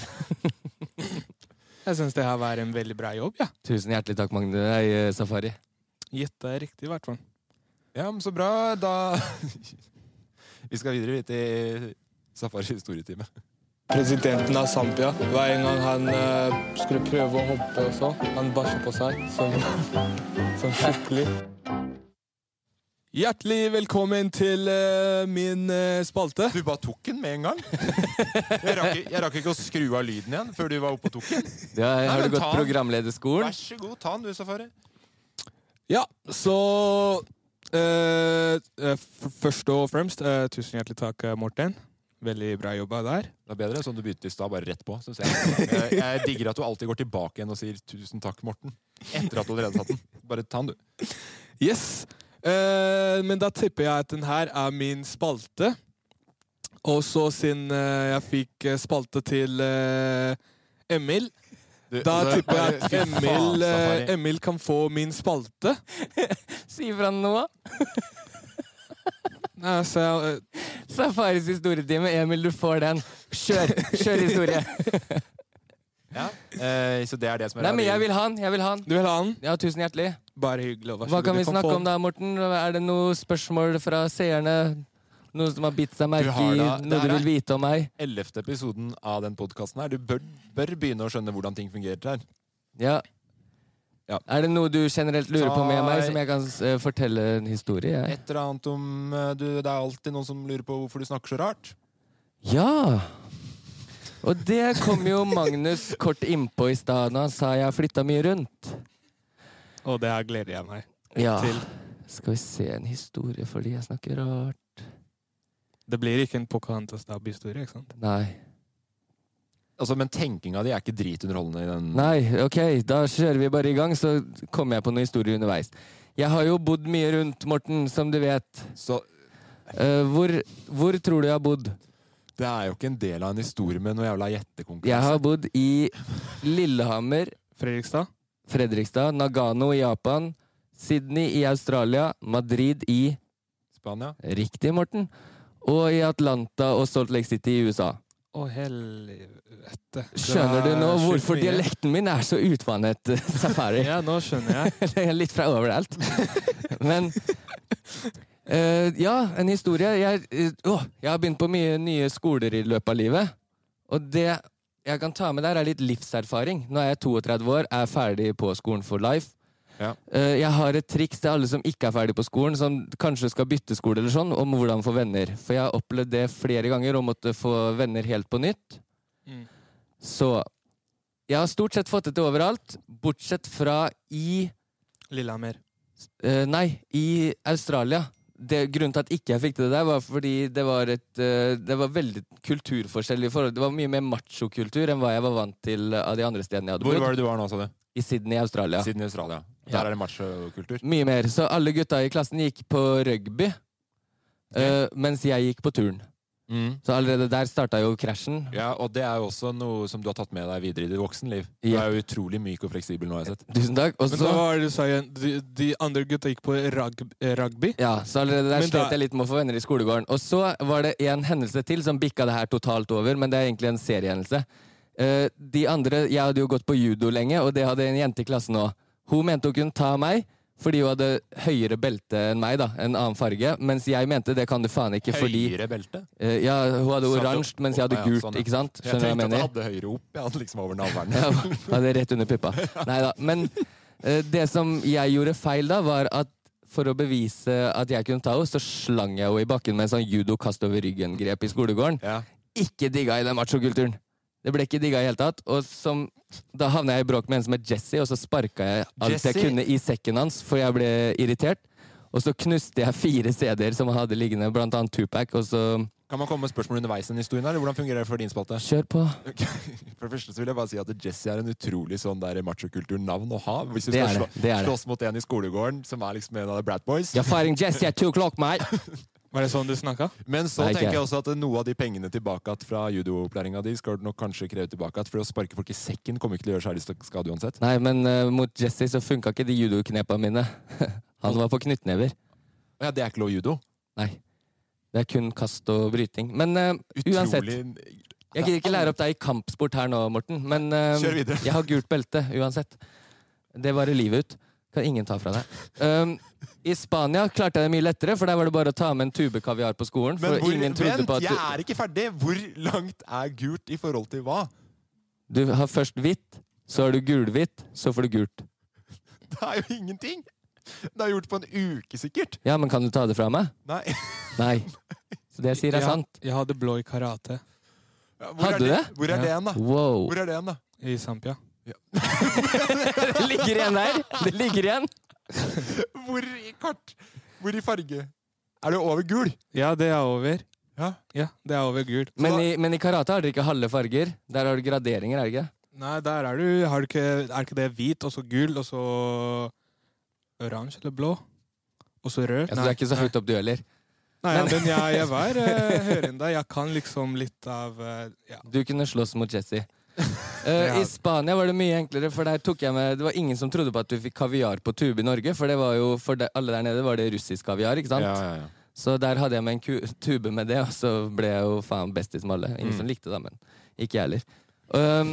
S1: Jeg syns det her var en veldig bra jobb, ja.
S4: Tusen hjertelig takk, Magnus. Nei, eh, Safari.
S1: Gjetta jeg riktig, i hvert fall.
S3: Ja, men så bra. Da Vi skal videre til Safaris historietime.
S1: Presidenten av Zambia, hver gang han eh, skulle prøve å hoppe og sånn, han bæsja på seg sånn skikkelig. Hjertelig velkommen til eh, min eh, spalte.
S3: Du bare tok den med en gang? Jeg rakk, jeg rakk ikke å skru av lyden igjen før du var oppe og tok den.
S4: Ja, har
S3: men
S4: du gått
S3: ta den. Vær
S4: programlederskolen?
S3: så god, ta den du, Safari.
S1: Ja, så eh, eh, f- Først og fremst, eh, tusen hjertelig takk, eh, Morten. Veldig bra jobba der.
S3: Det er bedre sånn du begynte i stad, bare rett på. synes Jeg. Jeg, jeg digger at du alltid går tilbake igjen og sier 'tusen takk, Morten'. Etter at du allerede tatt den. Bare ta den, du.
S1: Yes. Eh, men da tipper jeg at den her er min spalte. Og så siden eh, jeg fikk eh, spalte til eh, Emil
S3: du
S1: Da
S3: altså,
S1: tipper jeg at
S3: fy faen,
S1: Emil, eh,
S3: Safari.
S1: Emil kan få min spalte.
S4: Si fra nå.
S1: Nei, så jeg, eh,
S4: Safaris historietime. Emil, du får den. Kjør kjør historie.
S3: Ja. Eh, så det er det som er
S4: Nei, men jeg
S3: radio-
S4: vil ha den. Jeg vil ha den.
S1: du vil ha den?
S4: Ja, tusen hjertelig.
S1: Bare hyggelig. og vær så
S4: Hva
S1: god,
S4: kan
S1: du
S4: vi snakke
S1: få
S4: om da, Morten? Er det noen spørsmål fra seerne? Noe som har bitt seg merke
S3: har
S4: i?
S3: da-
S4: Noe
S3: der
S4: du
S3: er-
S4: vil vite om meg?
S3: ellevte episoden av den podkasten her. Du bør, bør begynne å skjønne hvordan ting fungerer her.
S4: Ja.
S3: Ja.
S4: Er det noe du generelt lurer på med
S3: Ta-
S4: meg, som jeg kan eh, fortelle en historie? Jeg?
S3: Et eller annet om eh, du, Det er alltid noen som lurer på hvorfor du snakker så rart.
S4: Ja! Og det kom jo Magnus kort innpå i stad da han sa jeg har flytta mye rundt.
S1: Og det her gleder jeg meg
S4: Ja.
S1: til.
S4: Skal vi se en historie fordi jeg snakker rart?
S1: Det blir ikke en Pocahontas-historie, ikke sant?
S4: Nei.
S3: Altså, Men tenkinga di er ikke dritunderholdende i den
S4: Nei, ok, da kjører vi bare i gang, så kommer jeg på noen historier underveis. Jeg har jo bodd mye rundt, Morten, som du vet.
S3: Så
S4: Eh, hvor, hvor tror du jeg har bodd?
S3: det er jo ikke en del av en historie med noe jævla gjettekonkurranse.
S4: Jeg har bodd i Lillehammer,
S1: Fredrikstad?
S4: Fredrikstad, Nagano i Japan, Sydney i Australia, Madrid i
S3: Spania.
S4: Riktig, Morten. Og i Atlanta og Salt Lake City i USA.
S1: Å, helvete.
S4: Skjønner du nå hvorfor dialekten min er så utvannet, Safari?
S1: Ja, nå skjønner jeg.
S4: Det er Litt fra overalt. Men eh, Ja, en historie. Jeg, eh, åh, jeg har begynt på mye nye skoler i løpet av livet. Og det jeg kan ta med der, er litt livserfaring. Nå er jeg 32 år, er ferdig på skolen for life.
S3: Ja.
S4: Eh, jeg har et triks til alle som ikke er ferdig på skolen, som kanskje skal bytte skole eller sånn, om hvordan få venner. For jeg har opplevd det flere ganger, å måtte få venner helt på nytt.
S1: Mm.
S4: Så jeg har stort sett fått det til overalt, bortsett fra i
S1: Lillehammer.
S4: Eh, nei, i Australia. Det, grunnen til at ikke jeg fikk til det der, var fordi det var, et, eh, det var veldig kulturforskjell. i forhold. Det var mye mer machokultur enn hva jeg var vant til eh, av de andre stedene jeg hadde
S3: Hvor
S4: bodd.
S3: var det du var nå, sa du?
S4: I Sydney, Australia.
S3: Siden i Australia. Der
S4: Ja.
S3: er det machokultur.
S4: Mye mer. Så alle gutta i klassen gikk på rugby, eh, mens jeg gikk på turn. Så allerede der starta jo krasjen.
S3: Ja, og det er jo også noe som du har tatt med deg videre i ditt voksenliv. Du
S4: Ja.
S3: er jo utrolig myk og fleksibel nå, har jeg sett.
S4: Tusen takk. Og
S1: Men hva
S4: så,
S1: var det du sa igjen? De, de andre gutta gikk på rag, eh, rugby?
S4: ja, så allerede der
S1: Men da-
S4: slet jeg litt med å få venner i skolegården. Og så var det en hendelse til som bikka det her totalt over, men det er egentlig en seriehendelse. Eh, de andre, Jeg hadde jo gått på judo lenge, og det hadde en jente i klassen òg. Hun mente hun kunne ta meg fordi hun hadde høyere belte enn meg, da, en annen farge. Mens jeg mente det kan du faen ikke fordi
S3: Høyere belte?
S4: eh, Ja, Hun hadde
S3: Satt
S4: oransje,
S3: opp-
S4: mens jeg hadde
S3: Ja, ja,
S4: gult.
S3: sånn, ja.
S4: ikke sant?
S3: Jeg
S4: Skjønner du hva jeg
S3: tenkte at
S4: mener?
S3: jeg hadde høyere opp. Jeg hadde liksom over navlen.
S4: Ja, ja, det er rett under puppa. Nei da. Men eh, det som jeg gjorde feil da, var at for å bevise at jeg kunne ta henne, så slang jeg henne i bakken med en sånn judo-kast over ryggen-grep i skolegården.
S3: Ja.
S4: Ikke digga i den machokulturen! Det ble ikke digga i hele tatt. Og som, da havna jeg i bråk med en som het Jesse, og så sparka jeg alt
S3: Jesse?
S4: jeg kunne i sekken hans, for jeg ble irritert. Og så knuste jeg fire CD-er som han hadde liggende, blant annet Tupac, og så
S3: Kan man komme med spørsmål underveis i den historien, her, eller hvordan fungerer det for din spalte?
S4: Kjør på!
S3: Ok, For det første så vil jeg bare si at Jesse er en utrolig sånn der machokulturnavn å ha. Hvis du
S4: Det
S3: skal
S4: er
S3: slå,
S4: det, det er det.
S3: slåss mot en i skolegården som er liksom en av the Brat Boys.
S4: You're firing Jesse at two o'clock, mate!
S1: Var det sånn du snakka?
S3: Men så
S4: Nei, ikke
S3: tenker jeg
S4: jeg.
S3: også at noe av de pengene tilbake at fra judoopplæringa di skal du nok kanskje kreve tilbake at for å sparke folk i sekken kommer ikke til å gjøre særlig skade uansett.
S4: Nei, men eh, mot Jesse så funka ikke de judoknepa mine. Han var på knyttnever.
S3: Å Ja, det er ikke lov i judo.
S4: Nei. Det er kun kast og bryting. Men eh, uansett.
S3: Utrolig
S4: Jeg gidder ikke lære opp deg i kampsport her nå, Morten, men eh,
S3: Kjør videre.
S4: jeg har gult belte uansett. Det varer livet ut. Kan ingen ta fra deg. Um, I Spania klarte jeg det mye lettere, for der var det bare å ta med en tube kaviar på skolen. For
S3: Men hvor,
S4: ingen
S3: vent,
S4: trodde på at
S3: jeg
S4: du,
S3: er ikke ferdig! Hvor langt er gult i forhold til hva?
S4: du har først hvitt, så har du gulhvitt, så får du gult.
S3: Det er jo ingenting! Det er gjort på en uke, sikkert.
S4: Ja, men kan du ta det fra meg?
S3: Nei.
S4: Nei. Så det jeg sier er
S1: Jeg-
S4: sant.
S1: Jeg hadde blå i karate
S3: Ja, Hvor
S4: Hadde
S3: er
S4: du det?
S3: Hvor er det
S1: Ja.
S3: igjen, da?
S4: Wow.
S3: Hvor er det igjen, da?
S1: i Sampia.
S4: Det ligger igjen der! Det ligger igjen.
S3: Hvor i kart? Hvor i farge? Er det over gul?
S1: Ja, det er over.
S3: Ja.
S1: Ja, det er over gult.
S4: Men i, men i karate har dere ikke halve farger. Der har du graderinger, er det ikke?
S1: Nei, der er du har du ikke, Er ikke det hvit, og så gul, og så oransje eller blå? Og så rød?
S4: Altså, du er ikke så høyt opp, du heller.
S1: Nei, ja,
S4: Men-
S1: men jeg, jeg var eh, høyere enn deg. Jeg kan liksom litt av eh, ja.
S4: Du kunne slåss mot Jesse. Eh,
S1: Ja.
S4: I Spania var det mye enklere, for der tok jeg med Det var ingen som trodde på at du fikk kaviar på tube i Norge, for det var jo for de, alle der nede var det russisk kaviar, ikke sant? Så der hadde jeg med en ku tube med det, og så ble jeg jo faen bestis med alle. Ingen som likte det, men ikke jeg heller. Um,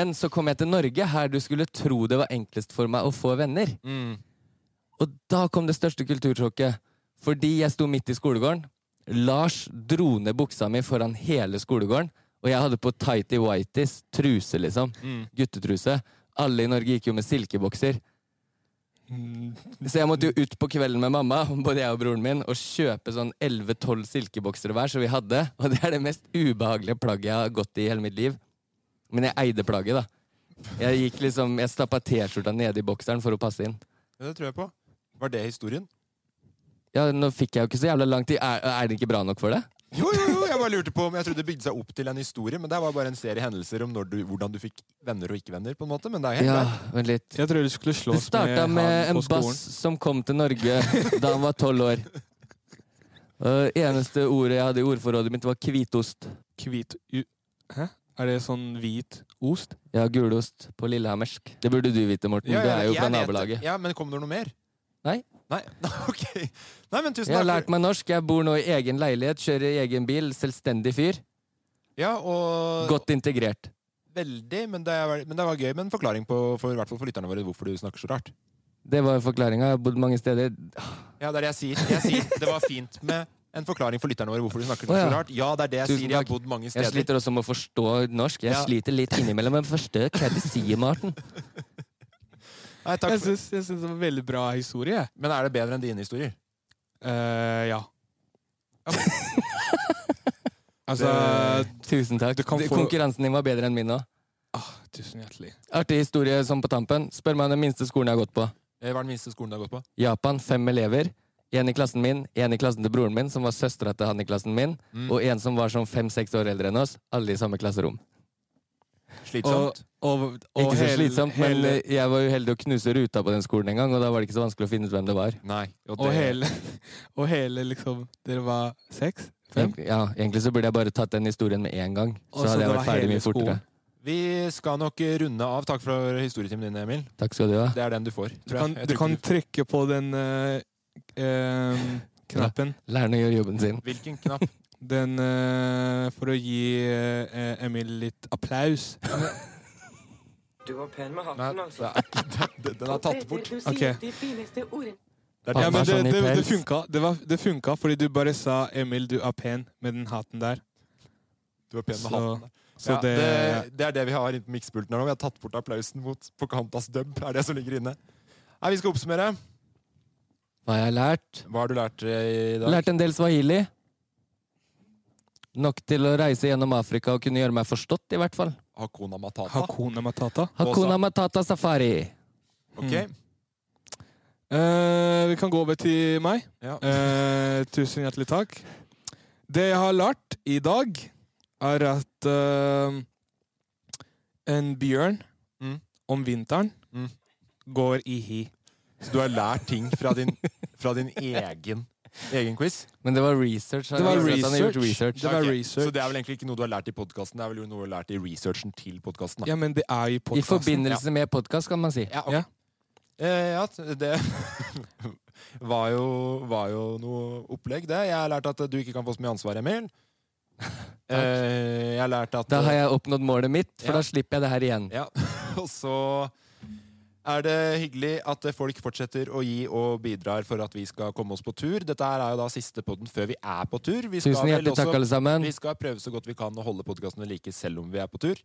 S4: men så kom jeg til Norge, her du skulle tro det var enklest for meg å få venner. Og da kom det største kultursjokket. Fordi jeg sto midt i skolegården. Lars dro ned buksa mi foran hele skolegården. Og jeg hadde på tighty whities, truse liksom. Guttetruse. Alle i Norge gikk jo med silkebokser. Så jeg måtte jo ut på kvelden med mamma både jeg og broren min, og kjøpe sånn 11-12 silkebokser hver, som vi hadde. Og det er det mest ubehagelige plagget jeg har gått i i hele mitt liv. Men jeg eide plagget, da. Jeg gikk liksom, jeg stappa T-skjorta nede i bokseren for å passe inn.
S3: Ja, det tror jeg på. Var det historien?
S4: Ja, nå fikk jeg jo ikke så jævla lang tid. Er, er det ikke bra nok for det?
S3: Jo, jo, jo, jeg bare lurte på om jeg trodde det bygde seg opp til en historie, men det var bare en serie hendelser om når du, hvordan du fikk venner og ikke venner, på en måte. Men det er helt
S4: Ja,
S3: greit.
S4: vent litt.
S1: Jeg tror du skulle
S4: Det
S1: slåss med
S4: starta
S1: han
S4: med en
S1: på skolen.
S4: bass som kom til Norge da han var tolv år. Og det eneste ordet jeg hadde i ordforrådet mitt, var hvitost.
S1: Hvit u- Hæ? Er det sånn hvit ost?
S4: Ja, gulost på lillehammersk. Det burde du vite, Morten.
S3: Ja,
S4: du
S3: ja,
S4: er jo
S3: jeg
S4: fra
S3: vet det.
S4: nabolaget.
S3: Ja, men kom det noe mer?
S4: Nei.
S3: Nei, ok. Nei, men tusen
S4: Jeg har
S3: takk.
S4: lært meg norsk. Jeg bor nå i egen leilighet, kjører i egen bil. Selvstendig fyr.
S3: Ja, og
S4: Godt integrert.
S3: veldig, men det, er, men det var gøy med en forklaring på, for, i hvert fall for lytterne våre, hvorfor du snakker så rart.
S4: Det var forklaringa. Jeg har bodd mange steder.
S3: Ja, det er det jeg sier. Jeg sier det var fint med en forklaring for lytterne våre, hvorfor du snakker så
S4: Å, ja.
S3: rart. Ja, det er det jeg
S4: Tusen
S3: sier. Jeg har
S4: takk.
S3: bodd mange
S4: Jeg
S3: steder.
S4: sliter også med å forstå norsk. Jeg
S3: Ja.
S4: sliter litt innimellom. Men forstå hva du sier, Morten.
S3: Nei, takk
S1: Jeg
S3: for,
S1: syns, jeg syns det var en veldig bra historie. jeg.
S3: men er det bedre enn dine historier?
S1: Eh, ja. altså
S4: Tusen takk.
S1: Du kan
S4: Du-
S1: få-
S4: Konkurransen din var bedre enn min nå.
S1: ah, Tusen hjertelig.
S4: Artig historie sånn på tampen. Spør meg om den minste skolen jeg har gått på.
S3: Eh, Hva er den minste skolen du har gått på?
S4: Japan, fem elever. En i klassen min, en i klassen til broren min, som var søstera til han i klassen min, og en som var sånn fem-seks år eldre enn oss. Alle i samme klasserom.
S1: Og,
S3: Slitsomt.
S1: og, og
S4: ikke så
S1: hele-
S4: slitsomt, men
S1: hele-
S4: eh, jeg var uheldig å knuse ruta på den skolen en gang, og da var det ikke så vanskelig å finne ut hvem det var.
S3: Nei.
S1: og, hele, og hele liksom Dere var seks? Fem?
S4: Egentlig, ja, egentlig så burde jeg bare tatt den historien med en gang. Så
S1: Og så
S4: hadde jeg
S1: det
S4: vært
S1: var
S4: ferdig
S1: hele
S4: mye fortere.
S1: skolen.
S3: Vi skal nok runde av. Takk for historietimen din, Emil.
S4: Takk skal du ha.
S3: Det er den du får.
S1: Du
S3: tror jeg.
S1: kan,
S3: Jeg
S1: du
S3: tror
S1: kan
S3: ikke
S1: trykke på den eh, eh, knappen.
S4: Læreren gjør jobben sin.
S3: Hvilken knapp?
S1: Den eh, for å gi eh, Emil litt applaus.
S8: Du var pen med
S3: Nei, det
S4: altså,
S3: er ikke, den, den er tatt bort.
S1: Ok.
S3: Det er
S1: Ja,
S4: Han
S1: men
S4: er
S1: det,
S4: sånn i
S1: det, det,
S4: pels.
S1: funka. Det, var, det funka fordi du bare sa 'Emil, du er pen' med den hatten der.
S3: Du er pen med
S1: Så-
S3: hatten.
S1: Så
S3: ja,
S1: det,
S3: det, det er det vi har inne på mikspulten her nå. Vi har tatt bort applausen mot Pocahontas dub. er det som ligger inne. Nei, Vi skal oppsummere.
S4: Hva har jeg lært?
S3: Hva har du lært eh, i dag?
S4: Lærte en del swahili. Nok til å reise gjennom Afrika og kunne gjøre meg forstått, i hvert fall.
S3: Hakuna Matata.
S1: Hakuna Matata.
S4: Hakuna Matata Safari.
S3: Ok.
S1: Mm. Eh, vi kan gå over til meg.
S3: Ja.
S1: Eh, tusen hjertelig takk. Det jeg har lært i dag, er at eh, en bjørn
S3: Mm.
S1: om vinteren
S3: Mm.
S1: går i hi.
S3: Så du har lært ting fra din, fra din egen, egen quiz?
S4: Men det var research.
S1: Det var
S4: Jeg vet at han har gjort
S1: research. Det var
S3: Ok,
S1: research.
S3: Så det er vel egentlig ikke noe du har lært i podkasten, det er vel noe du har lært i researchen til podkasten.
S1: Ja, men det er jo
S4: I
S1: podkasten.
S4: forbindelse med podkast, kan man si.
S3: Ja, ok.
S1: Ja.
S3: Eh, ja t- det var jo, var jo noe opplegg, det. Jeg har lært at du ikke kan få så mye ansvar, Emil. Eh, jeg har lært at eh,
S4: Da har jeg oppnådd målet mitt,
S3: Ja.
S4: for da slipper jeg det her igjen.
S3: Ja, og så er det hyggelig at folk fortsetter å gi og bidrar for at vi skal komme oss på tur. Dette her er jo da siste podden før vi er på tur. Vi
S4: Tusen
S3: vel
S4: hjertelig takk, alle sammen.
S3: Vi skal prøve så godt vi kan å holde podkastene like selv om vi er på tur.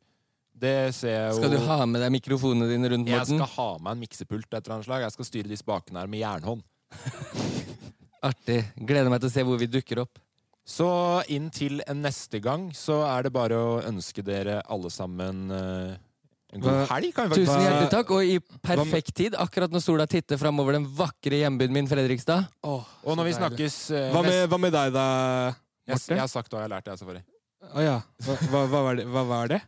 S3: Det ser jeg jo
S4: Skal du ha med deg mikrofonene dine rundt,
S3: Jeg
S4: Morten?
S3: skal ha med en miksepult av et eller annet slag. Jeg skal styre de spakene her med jernhånd.
S4: Artig. Gleder meg til å se hvor vi dukker opp.
S3: Så inn til en neste gang så er det bare å ønske dere alle sammen eh, en god
S1: Hva-
S3: helg. Kan vi faktisk
S4: Tusen
S1: Hva-
S4: hjertelig takk, og i perfekt
S1: hva-
S4: tid, akkurat når sola titter framover den vakre hjembyen min, Fredrikstad.
S1: Åh,
S3: Og når vi
S1: så deilig.
S3: snakkes eh,
S1: hva med,
S3: neste-
S1: hva med deg, da,
S3: jeg, jeg
S1: Morten?
S3: har sagt hva jeg altså, har lært, jeg, selvfølgelig.
S1: Å ja. Hva, hva, hva, var det? hva var det?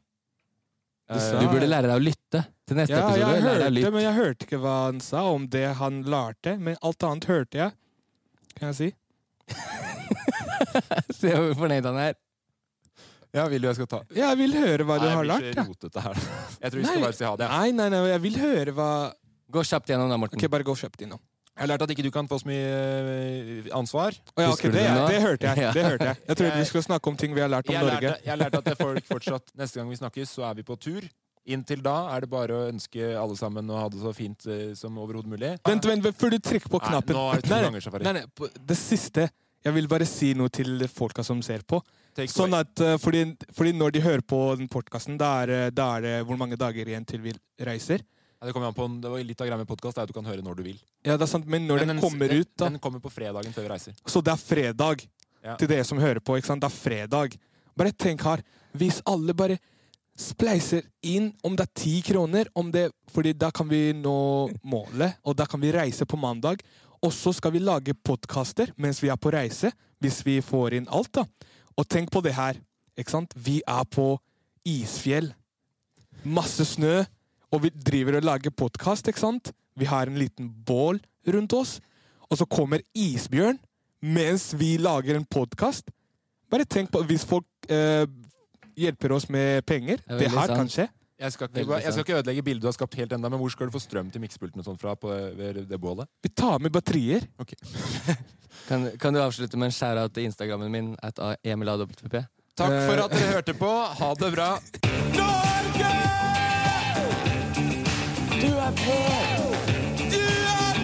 S1: Du sa-
S4: Du
S3: Eh,
S4: burde lære deg å lytte til neste
S1: Ja,
S4: episode.
S1: jeg
S4: Lær deg å
S1: hørte,
S4: lytte.
S1: men jeg hørte ikke hva han sa om det han lærte. Men alt annet hørte jeg, kan jeg si.
S4: Se hvor fornøyd han er.
S3: Ja, vil du jeg skal ta
S1: Jeg vil høre hva du
S3: Nei, jeg
S1: har
S3: blir
S1: lært.
S3: så
S1: Ja.
S3: rotete her. Jeg tror vi skal
S1: Nei.
S3: bare si ha det.
S1: Nei, nei, nei, jeg vil høre hva
S4: Gå kjapt gjennom da, Morten.
S1: Ok, bare gå kjapt innom.
S3: Jeg har lært at ikke du kan få så mye eh, ansvar.
S1: Å ja, ok,
S4: Husker du
S1: det,
S4: det nå?
S1: det hørte jeg.
S4: Ja.
S1: Det hørte jeg. jeg trodde
S3: Jeg-
S1: vi skulle snakke om ting vi har lært om
S3: Jeg
S1: Norge.
S3: lærte, jeg lærte at folk fortsatt Neste gang vi snakkes, så er vi på tur. Inntil da er det bare å ønske alle sammen å ha det så fint eh, som overhodet mulig.
S1: Vent, vent, vent, før du trykker på
S3: Nei,
S1: knappen.
S3: nå er det to
S1: Nei, nei,
S3: ganger safari.
S1: Nei, nei, på- det siste. Jeg vil bare si noe til folka som ser på.
S3: Take
S1: Sånn
S3: away.
S1: at, eh, fordi, fordi når de hører på den podkasten, da, er det- da er det hvor mange dager igjen til vi reiser.
S3: Ja, det kommer an på en- det var litt av greia med podkast, er at du kan høre når du vil.
S1: Ja, det er sant, Men når
S3: Men
S1: den kommer ut, da
S3: Den kommer på fredagen før vi reiser.
S1: Så det er fredag.
S3: Ja.
S1: Til dere som hører på, ikke sant? det er fredag. Bare tenk her. Hvis alle bare spleiser inn, om det er ti kroner om det, fordi da kan vi nå målet, og da kan vi reise på mandag. Og så skal vi lage podkaster mens vi er på reise, hvis vi får inn alt. da. Og tenk på det her. ikke sant? Vi er på isfjell. Masse snø. Og vi driver og lager podkast, ikke sant? Vi har en liten bål rundt oss. Og så kommer isbjørn mens vi lager en podkast. Bare tenk på Hvis folk eh, hjelper oss med penger
S4: er
S1: Det
S4: veldig
S1: her kan
S4: sant.
S1: skje.
S3: Jeg skal, ikke,
S4: Veldig
S3: bare- jeg skal
S4: sant.
S3: ikke ødelegge bildet du har skapt helt enda men hvor skal du få strøm til miksepulten og sånn fra på ved det bålet?
S1: Vi tar med batterier.
S4: Kan, kan du avslutte med en skjæra til Instagrammen min? At Emil AWP?
S3: Takk for at dere hørte på. Ha det bra.
S1: Eh. Norge! Du er på! Du er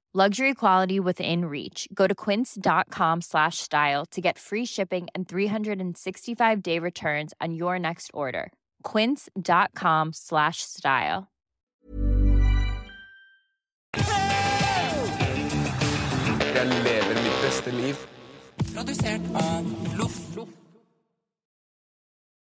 S9: Luxury quality within reach. Go to quince.com slash style to get free shipping and 365 day returns on your next order. Quince.com slash style.
S6: Jeg lever mitt beste liv.
S8: Produsert av Loff.